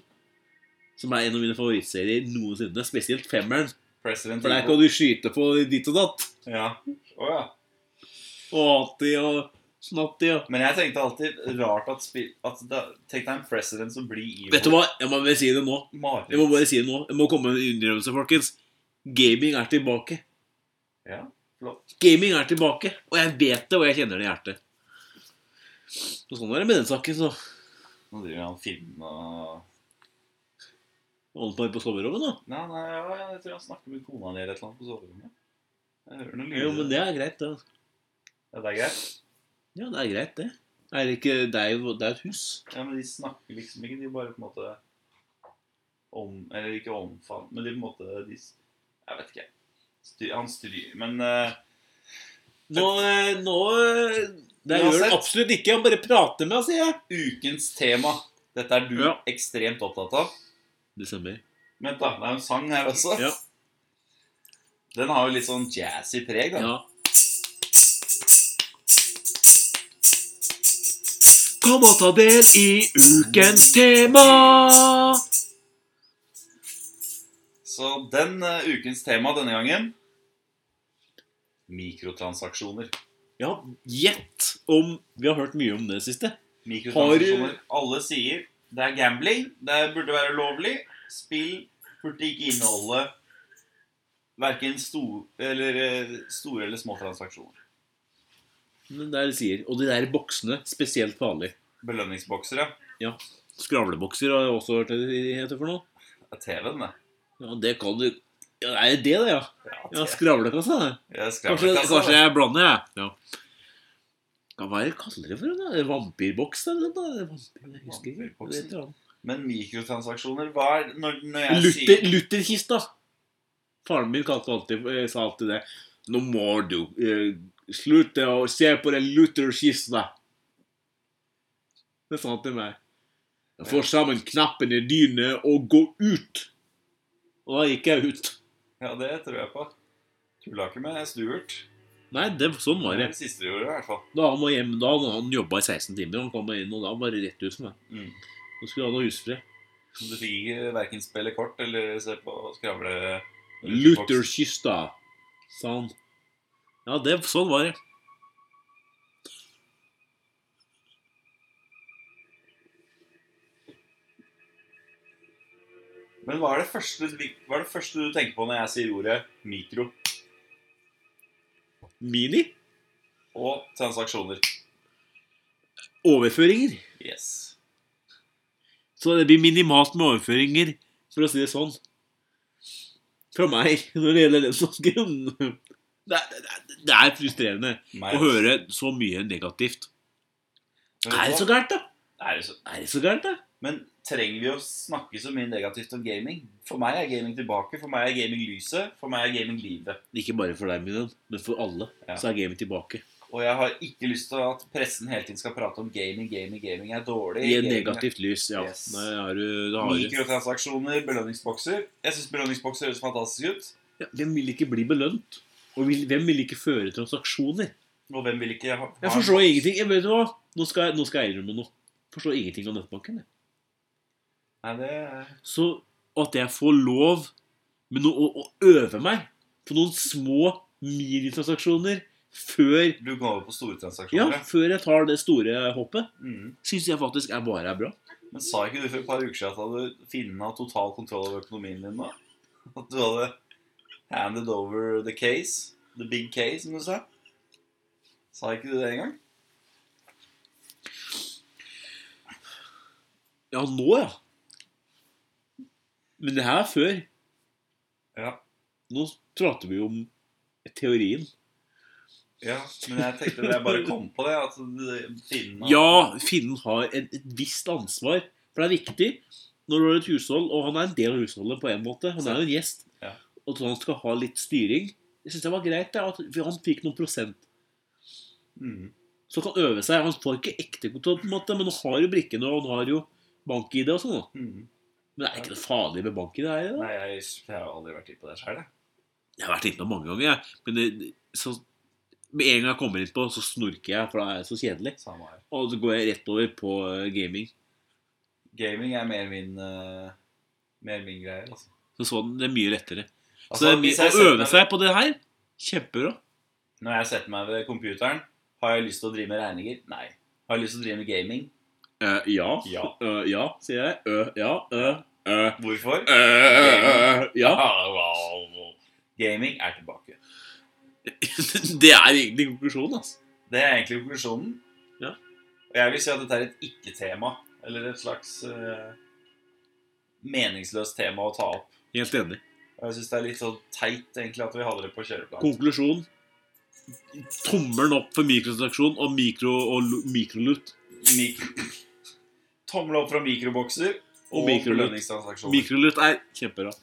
som er en av mine favorittserier noensinne. Spesielt femmeren, President for der Evil. kan du skyte på ditt og datt. Ja. Å, ja. Og Ati og Snatti og Men jeg tenkte alltid rart at, spill, at da, Tenk deg en president som blir evil. Vet du hva? Jeg må bare si det nå. Mareritt. Jeg må bare si det nå. Jeg må komme med en innrømmelse, folkens. Gaming er tilbake. Ja, flott. Gaming er tilbake. Og jeg vet det, og jeg kjenner det i hjertet. Og sånn er det med den saken, så. Nå driver han film og Holder på her på soverommet, da. Nei, nei, ja, jeg tror han snakker med kona di eller et eller annet på soverommet. Jeg hører noen lyder. Jo, men det er greit, det. Ja, det er greit. Ja, det er greit, det. Er det ikke Det er jo det er et hus. Ja, men de snakker liksom ikke, de bare på en måte om, Eller ikke omfavner, men de på en måte de, s- Jeg vet ikke. Styr, han styrer Men eh, Nå, eh, nå eh, Det gjør Uansett. han absolutt ikke. Han bare prater med oss, sier jeg. ukens tema Dette er du Ja. ekstremt opptatt av. Det stemmer. Vent, da. Det er jo en sang her også. Ja. Den har jo litt sånn jazzy preg, da. Ja. Kom og ta del i ukens tema! Så den eh, ukens tema denne gangen Mikrotransaksjoner. Ja, gjett om Vi har hørt mye om det siste. Mikrotransaksjoner. Alle sier det er gambling, det burde være lovlig. Spill burde ikke inneholde verken store eller, eh, store eller små transaksjoner. Men det er det sier. Og de der boksene, spesielt vanlig. Belønningsbokser, ja. Skravlebokser har jeg også hørt det heter for noe. Det er TV-en, det. Ja, det kan du ja, Er det det, det, ja? Ja, ja skravlekasse, det. jeg skrev Kanskje, det, altså. kanskje jeg blander, jeg. Ja. Ja, hva er det kaller det for en da? Vampyrboks? eller noe da? Vampyr, jeg husker ikke. Vampyrboksen. Det heter han. Men mikrotransaksjoner, hva er når, når jeg Luther, sier Lutherkista. Faren min kalte alltid, eh, sa alltid det. Nå må du eh, slutte å se på den Lutherkista. Det sa han til meg. Få sammen knappene dine og gå ut. Og da gikk jeg ut. Ja, det tror jeg på. Tulla ikke med Stuart. Nei, det, sånn var Det det. er det siste du gjorde, i hvert fall. Da han var hjemme, da hadde han jobba i 16 timer, og han kom inn, og da var det rett ut for meg. Mm. Nå skulle han ha husfred. Du fikk ikke verken spille kort eller se på skravle Lutherkista, sa han. Ja, det, sånn var det. Men hva er, det første, hva er det første du tenker på når jeg sier ordet mikro Mini. og transaksjoner? Overføringer. Yes. Så det blir minimalt med overføringer, for å si det sånn. Fra meg, når det gjelder den saken. Det, er- det, er- det er frustrerende Meg å også. høre så mye negativt. Men vet Er det du så hva? gærent, da? Er det så... Er det så gærent, da? Men trenger vi å snakke så mye negativt om gaming? For meg er gaming tilbake, for meg er gaming lyset, for meg er gaming livet. Ikke bare for deg, Minen, men for alle. Ja. Så er gamet tilbake. Og jeg har ikke lyst til at pressen hele tiden skal prate om gaming, gaming, gaming er dårlig. I et gaming er- negativt lys, ja. Yes. Nei, har du, da har du. Mikrotransaksjoner, belønningsbokser. Jeg syns belønningsbokser høres fantastisk ut. Ja, hvem vil ikke bli belønt? Og vil, hvem vil ikke føre transaksjoner? Og hvem vil ikke ha Jeg forstår ingenting. Jeg vet du hva? Nå skal jeg, nå skal jeg innrømme noe. Forstår ingenting om nettbanken. Jeg. Nei, det Så at jeg får lov med noe, å, å øve meg på noen små minitransaksjoner før, Du går over på store ja, transaksjoner. før jeg tar det store hoppet, Mm. syns jeg faktisk er bare er bra. Men sa ikke du for et par uker siden at du finnen har total kontroll over økonomien din nå? At du hadde handed over the case? The big case, som du sa? Sa ikke du det engang? Ja, nå, ja. Men det her er før. Ja. Nå prater vi om teorien. ja. Men jeg tenkte jeg bare kom på det. At det- finnen har- Ja, finnen har et, et visst ansvar. For det er viktig når du har et hushold, og han er en del av husholdet på en måte. Han er jo en gjest. Ja. Og så han skal ha litt styring. Jeg syns det var greit det, at for han fikk noen prosent. Mm. Så han kan øve seg. Han får ikke ekte kontroll, på en måte, men han har jo brikkene, og han har jo bank-ID og sånn. da. Mm. Men det er ikke det farlige med bank-ID? er det da? Nei, jeg, jeg har aldri vært inne på det sjøl, jeg. Jeg har vært innom mange ganger, jeg. Men det, så, med en gang jeg kommer innpå, så snorker jeg, for da er jeg så kjedelig. Samme her. Og så går jeg rett over på eh, gaming. Gaming er mer min, eh, mer min greie. Altså. Så sånn, det er mye lettere. Altså, Så det er hvis mye jeg å setter øve meg- seg på det her. Kjempebra. Når jeg setter meg ved computeren, har jeg lyst til å drive med regninger? Nei. Har jeg lyst til å drive med gaming? Eh, ja. Ja. Eh, ja, sier jeg. Ø, ja. Ø, ø. Hvorfor? Ø, ø, ø, ja. Ah, Gaming er tilbake. <laughs> det er egentlig konklusjonen, altså. Det er egentlig konklusjonen. Ja. Og jeg vil si at dette er et ikke-tema. Eller et slags eh, meningsløst tema å ta opp. Helt enig. Og jeg syns det er litt sånn teit egentlig at vi hadde det på kjøreplanen. Konklusjon. Tommelen opp for mikrotransaksjon og mikro og lo- mikrolutt. Mikro... Tommel opp fra mikrobokser Og og mikrolutt. belønningstransaksjoner. Mikrolutt er kjempebra.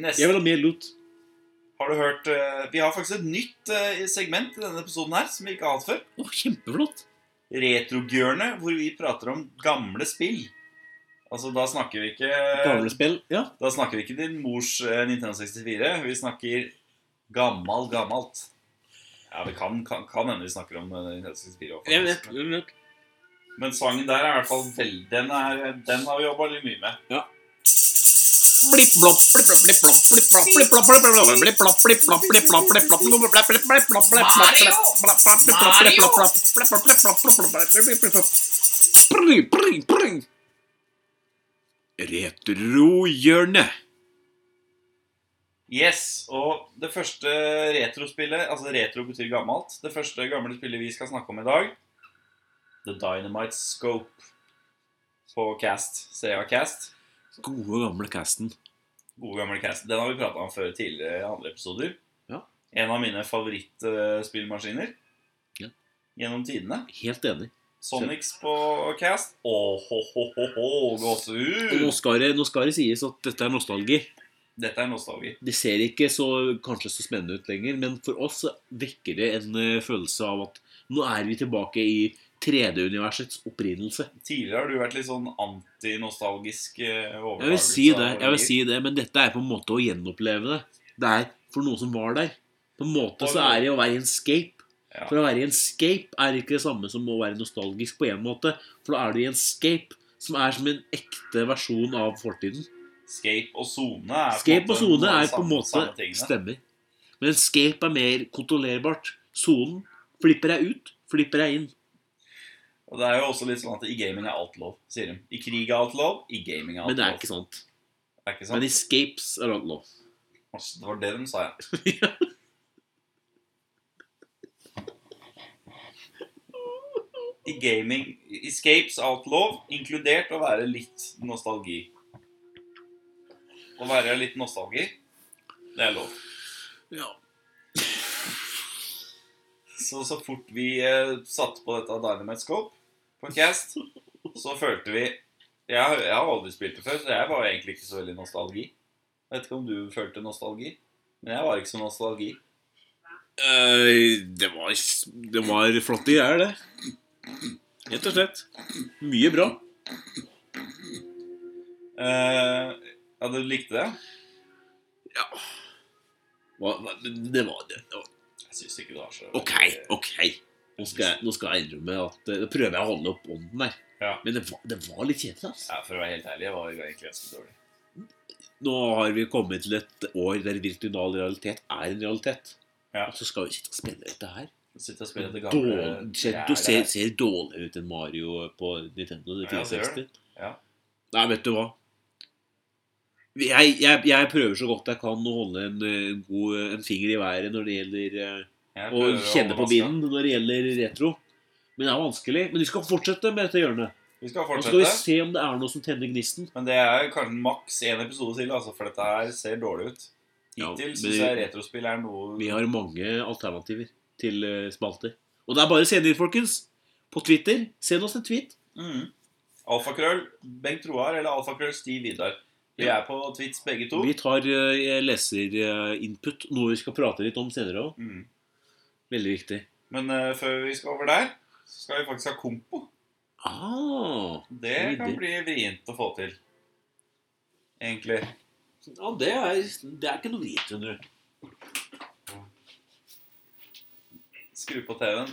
Neste Jeg vil ha mer lutt. Har du hørt eh, Vi har faktisk et nytt eh, segment i denne episoden her som vi ikke har hatt før. Å, kjempeflott. Retrogjørnet, hvor vi prater om gamle spill. Altså, da snakker vi ikke Gamlespill. Ja. Da snakker vi ikke din mors eh, Nintendo 64. Vi snakker gammal, gammalt. Ja, vi kan, kan, kan hende vi snakker om eh, Nintendo 64 også, Jeg vet. faktisk. jeg vet. Men sangen der er i hvert fall veldig Den, er, den har vi jobba litt mye med. Blipp, blopp, blipp, blopp, blipp, blopp, blipp, blopp, blipp, blopp, blipp, blopp, blipp, blopp, blipp, blopp, blipp, blopp, blipp, blopp, blipp, blopp, blipp, blipp, blopp, blipp, blopp, blipp, blopp, blopp, blipp, blopp, blopp, blipp, blopp, blipp, blopp, blopp, blipp, blipp, blipp, blopp. Pring, pring, pring. Retrohjørnet. Yes, og det første retrospillet Altså retro betyr gammelt. Det første gamle spillet vi skal snakke om i dag, The Dynamite Scope på Cast. Sega Cast. Gode, gamle casten. Gode gamle Cast. Den har vi prata om før tidligere i andre episoder. Ja. En av mine favorittspillmaskiner Ja. gjennom tidene. Helt enig. Sonics på Cast. Åhåhåhå, Og Nå gåsehud! skal, det, nå skal det sies at dette er nostalgi. Dette er nostalgi. Det ser ikke så, kanskje så spennende ut lenger, men for oss så vekker det en eh, følelse av at nå er vi tilbake i 3D-universets opprinnelse. Tidligere har du vært litt sånn antinostalgisk eh, overtakelse. Jeg vil si av det, jeg vil verdier. si det, men dette er på en måte å gjenoppleve det. Det er for noe som var der. På en måte så er det å være i en scape. Ja. For å være i en scape er ikke det samme som å være nostalgisk på en måte. For da er du i en scape som er som en ekte versjon av fortiden. Scape og sone er Scape og sone noe av er det på en samme- måte samme tingene. stemmer. Men scape er mer kontrollerbart. Sonen flipper jeg ut, flipper jeg inn. Og det er jo også litt sånn at i gaming er alt lov, sier de. I krig er alt lov, i gaming er alt Men det er lov. ikke sant. Det er ikke sant. Men i scapes er alt lov. Altså, Det var det de sa, ja. I gaming escapes alt lov, inkludert å være litt nostalgi. Å være litt nostalgi, det er lov. Ja. Så så fort vi eh, satte på dette Dynamite Scope på Cast, så følte vi jeg, jeg har aldri spilt det før, så jeg var egentlig ikke så veldig nostalgi. Jeg vet ikke om du følte nostalgi, men jeg var ikke så nostalgi. Eh, det, var, det var flotte greier, det. Rett og slett. Mye bra. Eh, ja, du likte det? Hva, hva- det var det. Jeg syns ikke det var så Ok, ok. Nå skal jeg, nå skal jeg innrømme at eh, Nå prøver jeg å holde opp ånden der. Ja. Men det var, det var litt kjedelig, altså. Ja, For å være helt ærlig, jeg var egentlig ganske dårlig. Nå har vi kommet til et år der virtual realitet er en realitet. Ja. Og så skal vi sitte og spille dette her. Så Sitter og spiller etter gamle Dårlig, ser, greier du ser, der. ser dårligere ut enn Mario på Nintendo Ja, det gjør 64. Ja. Nei, vet du hva? Jeg, jeg, jeg prøver så godt jeg kan å holde en, eh, en, god, en finger i været når det gjelder eh, Jeg Å prøver å kjenne på overraske. vinden når det gjelder retro. Men det er vanskelig. Men vi skal fortsette med dette hjørnet. Vi skal Nå skal vi fortsette. se om det er noe som tenner gnisten. Men det er kanskje maks én episode til, altså, for dette her ser dårlig ut. Ja, Hittil men- synes syns jeg retrospill er noe Vi har mange alternativer til eh, spalter. Og det er bare å sende inn, folkens. På Twitter. Send oss en tweet. mm. Alfakrøll Bengt Roar eller alfakrøll Stiv Vidar. Vi Ja. er på Twits begge to. Vi tar eh, leserinput, noe vi skal prate litt om senere òg. Mm. Veldig viktig. Men eh, før vi skal over der, så skal vi faktisk ha kompo. Ah, Det Oi, kan det- bli vrient å få til. Egentlig. ja, det er, det er ikke noe vit, skjønner du. Skru på TV-en.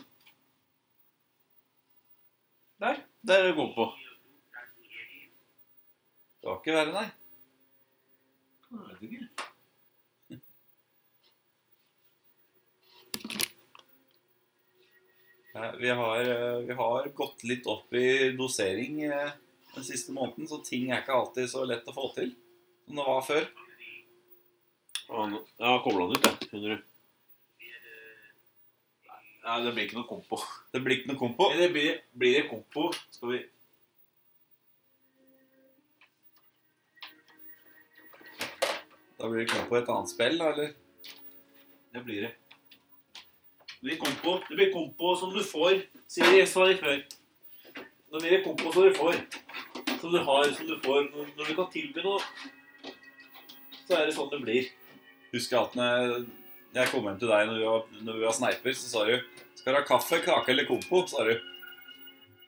Der. Der er det kompo. Det var ikke verre, nei. Nei, Vi har, eh, vi har gått litt opp i dosering eh, den siste måneden, så ting er ikke alltid så lett å få til som det var før. Jeg har kobla den ut, jeg. Skjønner du. Nei, det blir ikke noe kompo. Det blir ikke noe kompo. Eller blir, blir det kompo, skal vi Da blir det kompo i et annet spill, da, eller? Det blir det. Det blir kompo, det blir kompo som du får, sier jeg sa det før. Nå blir det kompo som du får. Som du har, som du får. Når når du kan tilby noe, så er det sånn det blir. Husker jeg at når jeg- jeg kom hjem til deg når vi var, når vi var sneiper, så sa du Skal du ha kaffe, kake eller kompo? sa du.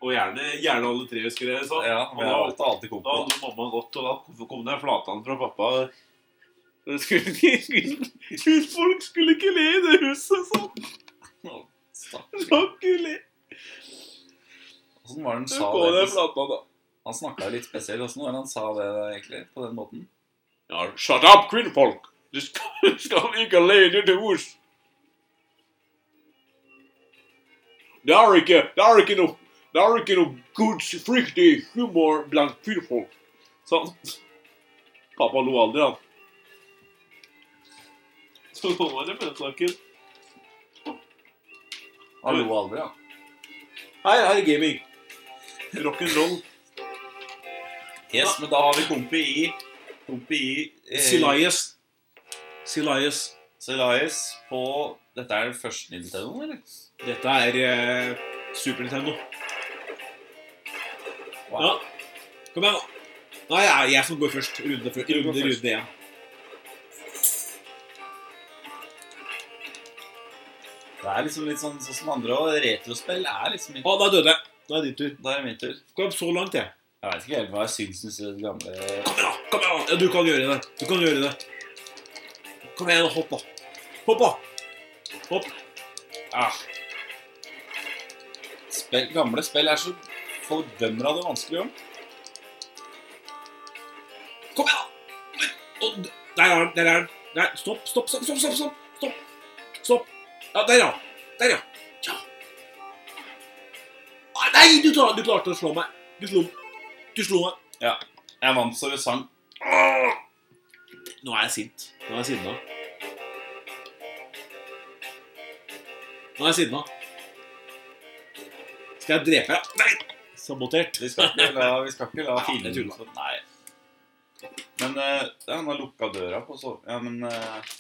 Og gjerne, gjerne alle tre, husker jeg sa. Ja, men jeg valgte alltid Da kompo. hadde mamma gått, og da kom det en flatan fra pappa. Det Skulle <laughs> ikke, folk skulle ikke le i det huset, sånn. Stakkars. Skulle ikke le. Altså, Åssen var det han Så sa går det? det flatta, da. Han snakka litt spesielt. Åssen var det han sa det egentlig? På den måten? Ja, shut up, kvinnfolk! Du skal, skal ikke alene til hus! Det er ikke, det er ikke noe det er ikke noe god, fryktig humor blant kvinnfolk. Sånn. Pappa lo aldri, han. Så nå var det med den saken. Han lo aldri, han. Hei, her er gaming. Rock'n'roll. Yes, men da har vi kompi i Kompi i eh, Silayes. Silayes. Silias på Dette er første Nintendo, eller? Dette er eh, Super Nintendo. Wow. Ja. Kom igjen, da. Nei, det er jeg som går først. Runde, før- Du går runde, først. runde igjen. Det er liksom litt sånn sånn som andre òg. Retrospill er liksom ikke Å, da døde jeg. Da er det din tur. Da er det min tur. Kom så langt, jeg. Jeg vet ikke helt hva jeg syns om disse gamle Kom igjen, da. kom igjen. da. Ja, du kan gjøre det. Du kan gjøre det. Kom igjen, hopp, da. Hopp, da. Hopp. Ah. Spill, gamle spill er så fordømmer av det vanskelig om. Kom igjen, da. Å, d- Der er den. Der er den. Der. Stopp, stopp, stopp, stopp, stopp. Stopp. stopp. stopp. Ja, der, ja. Der, ja. ja. Ah, Nei, du, klar, du klarte å slå meg. Du slo, du slo meg. Jeg vant så det sang. Nå er jeg sint. Nå er jeg sinna. Nå er jeg sinna. Skal jeg drepe deg? Nei! Sabotert. Vi skal ikke la, vi skal ikke la Ja, det fienden tuller. få- Nei. Men eh, ja, han har lukka døra på så Ja, men eh,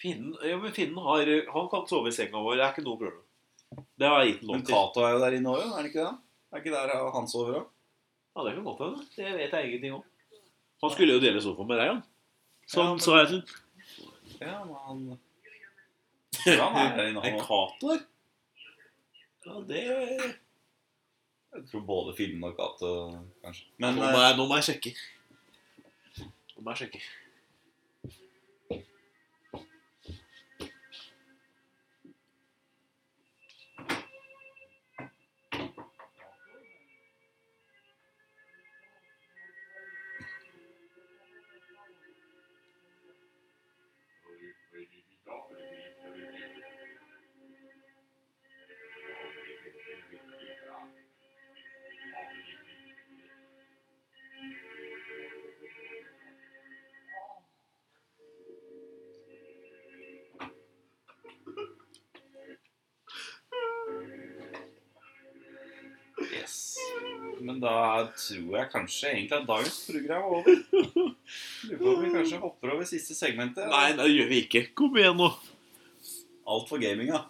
Finnen, ja, men finnen har, han kan sove i senga vår. Det er ikke noe problem. Det har jeg gitt ham Men lov til. Cato er jo der inne òg, er han ikke det? Er ikke der eh, han sover òg? Ja, det kan godt hende. Det vet jeg ingenting om. Han skulle jo dele sofaen med deg, han. Så han sa jeg til Ja, men han Ja, han er der inne En han også. Cato der? Ja, det Jeg tror både Finnen og Cato, kanskje. nå Men må, eh, jeg, nå må jeg sjekke. Nå må jeg sjekke. yes. Men da tror jeg kanskje egentlig at dagens program er over. Lurer på om vi kanskje hopper over siste segmentet. Nei, det gjør vi ikke. Kom igjen, nå. Alt for gaminga.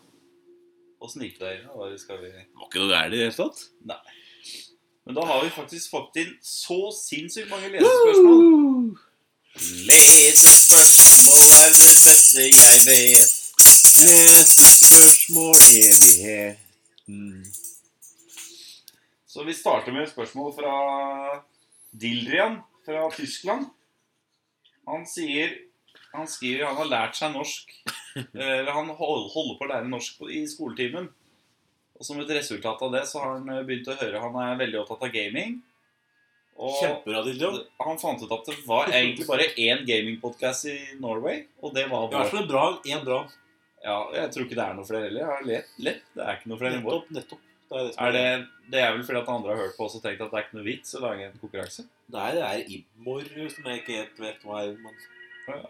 Åssen gikk det? Eivind? Hva skal vi... Det var ikke noe gærent i det hele tatt. Men da har vi faktisk fått inn så sinnssykt mange lesespørsmål. Lesespørsmål er det beste jeg vet. Lesespørsmål evigheten. Så vi starter med et spørsmål fra Dildrian fra Tyskland. Han sier Han skriver han har lært seg norsk. Eller han hold- holder på å lære norsk på- i skoletimen. Og som et resultat av det så har han eh, begynt å høre Han er veldig opptatt av gaming. Og Kjempebra, Dildo. Det- Han fant ut at det var egentlig bare én gamingpodkast i Norway, og det var I hvert vår. fall en bra en. bra. Ja, jeg tror ikke det er noe flere heller. Jeg har lett, lett. Det er ikke noe flere enn vår. Nettopp. nettopp. Det er det, som Er det, det er vel fordi at andre har hørt på oss og tenkt at det er ikke noe vits å lage en konkurranse. Nei, det er Immor som jeg ikke helt vet hva er. Men...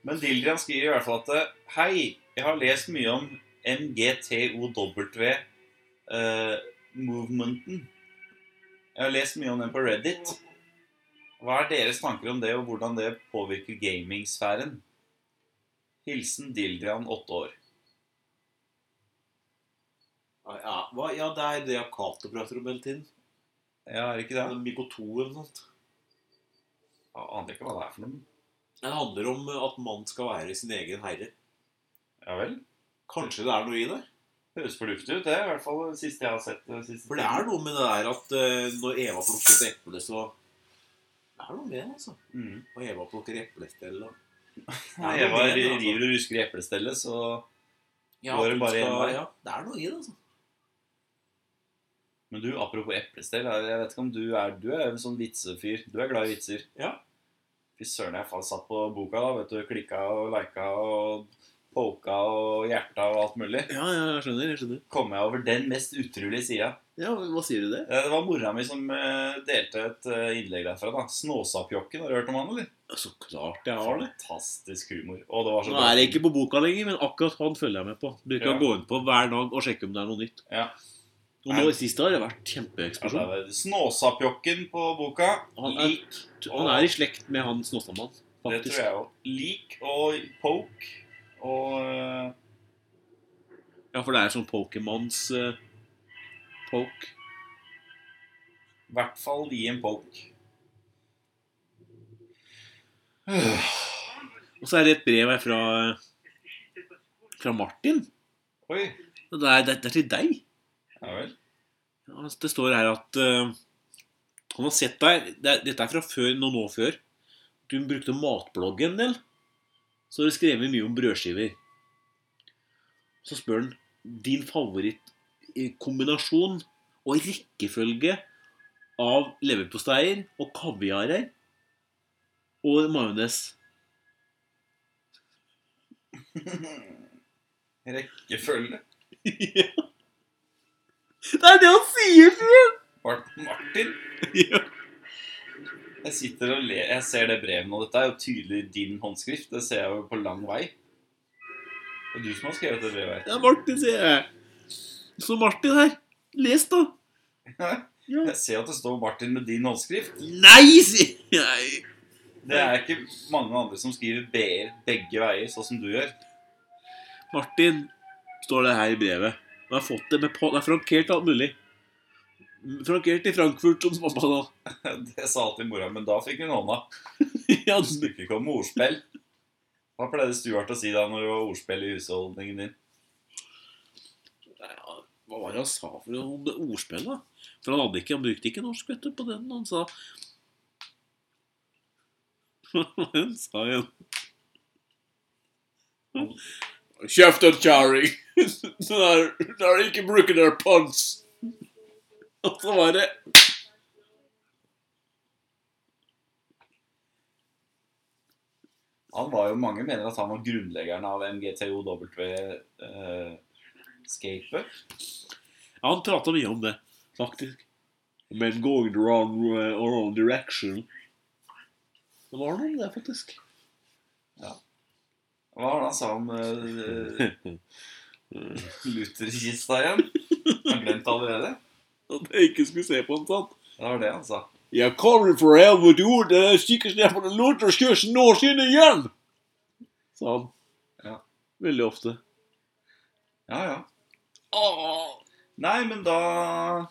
Men Dildrian skriver i hvert fall at eh, Hei, jeg har lest mye om MGTOW-movementen. eh, jeg har lest mye om den på Reddit. Hva er deres tanker om det, og hvordan det påvirker gamingsfæren? Hilsen Dildrian, åtte år. Ja, hva? ja, det er det Akato prater om hele tiden. Ja, er det ikke det? Den Mikoto eller noe sånt. Jeg aner ikke hva det er for noe. Det handler om at man skal være sin egen herre. Ja vel. Kanskje det er noe i det? Høres fornuftig ut, det. er I hvert fall det siste jeg har sett. Det siste For det er noe med det der at eh, når Eva plukker et eple, så Det er noe med det, altså. Mm. Og Eva plukker eplestell <laughs> og Nei, Det er jeg noe var med det, altså. river og rusker i eplestellet, så Ja, Går det at hun bare en skal- vei? Ja, det er noe i det, altså. Men du, apropos eplestell, jeg vet ikke om du er Du er jo en sånn vitsefyr. Du er glad i vitser. Ja. Fy søren, jeg faen satt på boka, da, vet du. Klikka og lika og poka og hjerta og alt mulig. Ja, ja, jeg skjønner. jeg skjønner. Kom jeg over den mest utrolige sida. Ja, men Hva sier du det? Det var mora mi som eh, delte et eh, innlegg derfra. da Snåsappjokken, har du hørt om han, eller? Ja, Så klart jeg har det. Fantastisk humor. Og det var så Nå er jeg ikke på boka lenger, men akkurat han følger jeg med på. Bruker Ja. å gå inn på hver dag og sjekke om det er noe nytt. Ja. Og nå i siste har det vært kjempeeksplosjon. Ja, det er Snåsappjokken på boka. Han er- Lik. Han er i slekt med han Snåsamannen, Det faktisk. tror jeg òg. Lik og poke og eh, Ja, for det er sånn Pokémons eh, poke. i hvert fall gi en poke. Og så er det et brev her fra, eh, fra Martin. Oi. Og det er, det er til deg. Ja vel. Altså, Det står her at eh, han har sett deg det, er- Dette er fra før, noen år før. Du brukte matblogg en del. Så har du skrevet mye om brødskiver. Så spør han din favorittkombinasjon og rekkefølge av leverposteier og kaviarer og majones. Rekkefølge. det er det han sier, Fred! Mar- Martin, Ja. jeg sitter og ler. Jeg ser det brevet nå. Dette er jo tydelig din håndskrift. Det ser jeg jo på lang vei. Det er du som har skrevet det brevet. Det er Martin, sier jeg. Så Martin her. Les, da. her. Ja. Jeg ser at det står Martin med din håndskrift. Nei, sier jeg. Det er ikke mange andre som skriver BR begge veier, sånn som du gjør. <laughs> Martin, står det her i brevet. Han har fått det med på... Det er frankert alt mulig. Frankert i Frankfurt, som pappa sa. <laughs> Det sa alltid mora, men da fikk hun hånda. <laughs> Ja, Du snakker ikke om ordspill. Hva pleide Stuart å si da når det var ordspill i husholdningen din? Hva var det han sa for noe om det ordspillet? da? For han, hadde ikke, han brukte ikke norsk vet du, på den. Han sa <laughs> Hva var det han sa igjen? Kjeft og kjerring! <laughs> Dere ikke bruker deres pants! Og så var det Han var jo, Mange mener at han var grunnleggeren av MGTOW-skapet. Ja, han prata mye om det, faktisk. Men going the wrong, uh, wrong direction Det var noe om det, faktisk. Hva var det han sa om uh, Luther-kista igjen? Har glemt allerede? At jeg ikke skulle se på han sånn. Det var det han sa. Jeg kommer fra Helvete Ord, det er sikkert Stefan den lutherske nå siden igjen! Sa han. Ja. Veldig ofte. Ja, ja. Nei, men da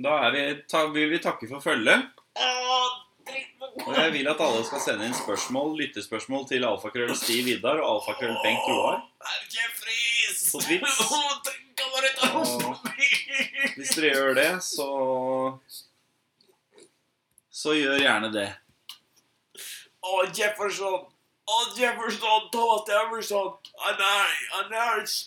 Da er vi, ta, vil vi takke for følget. Og jeg vil at alle skal sende inn spørsmål, lyttespørsmål til alfakrøll Stiv Vidar og alfakrøll Bengt Roar. På Twitch. Og hvis dere gjør det, så Så gjør gjerne det. Å, Oh, Jefferson! Å, Jefferson! Thomas Jefferson! Han er, han er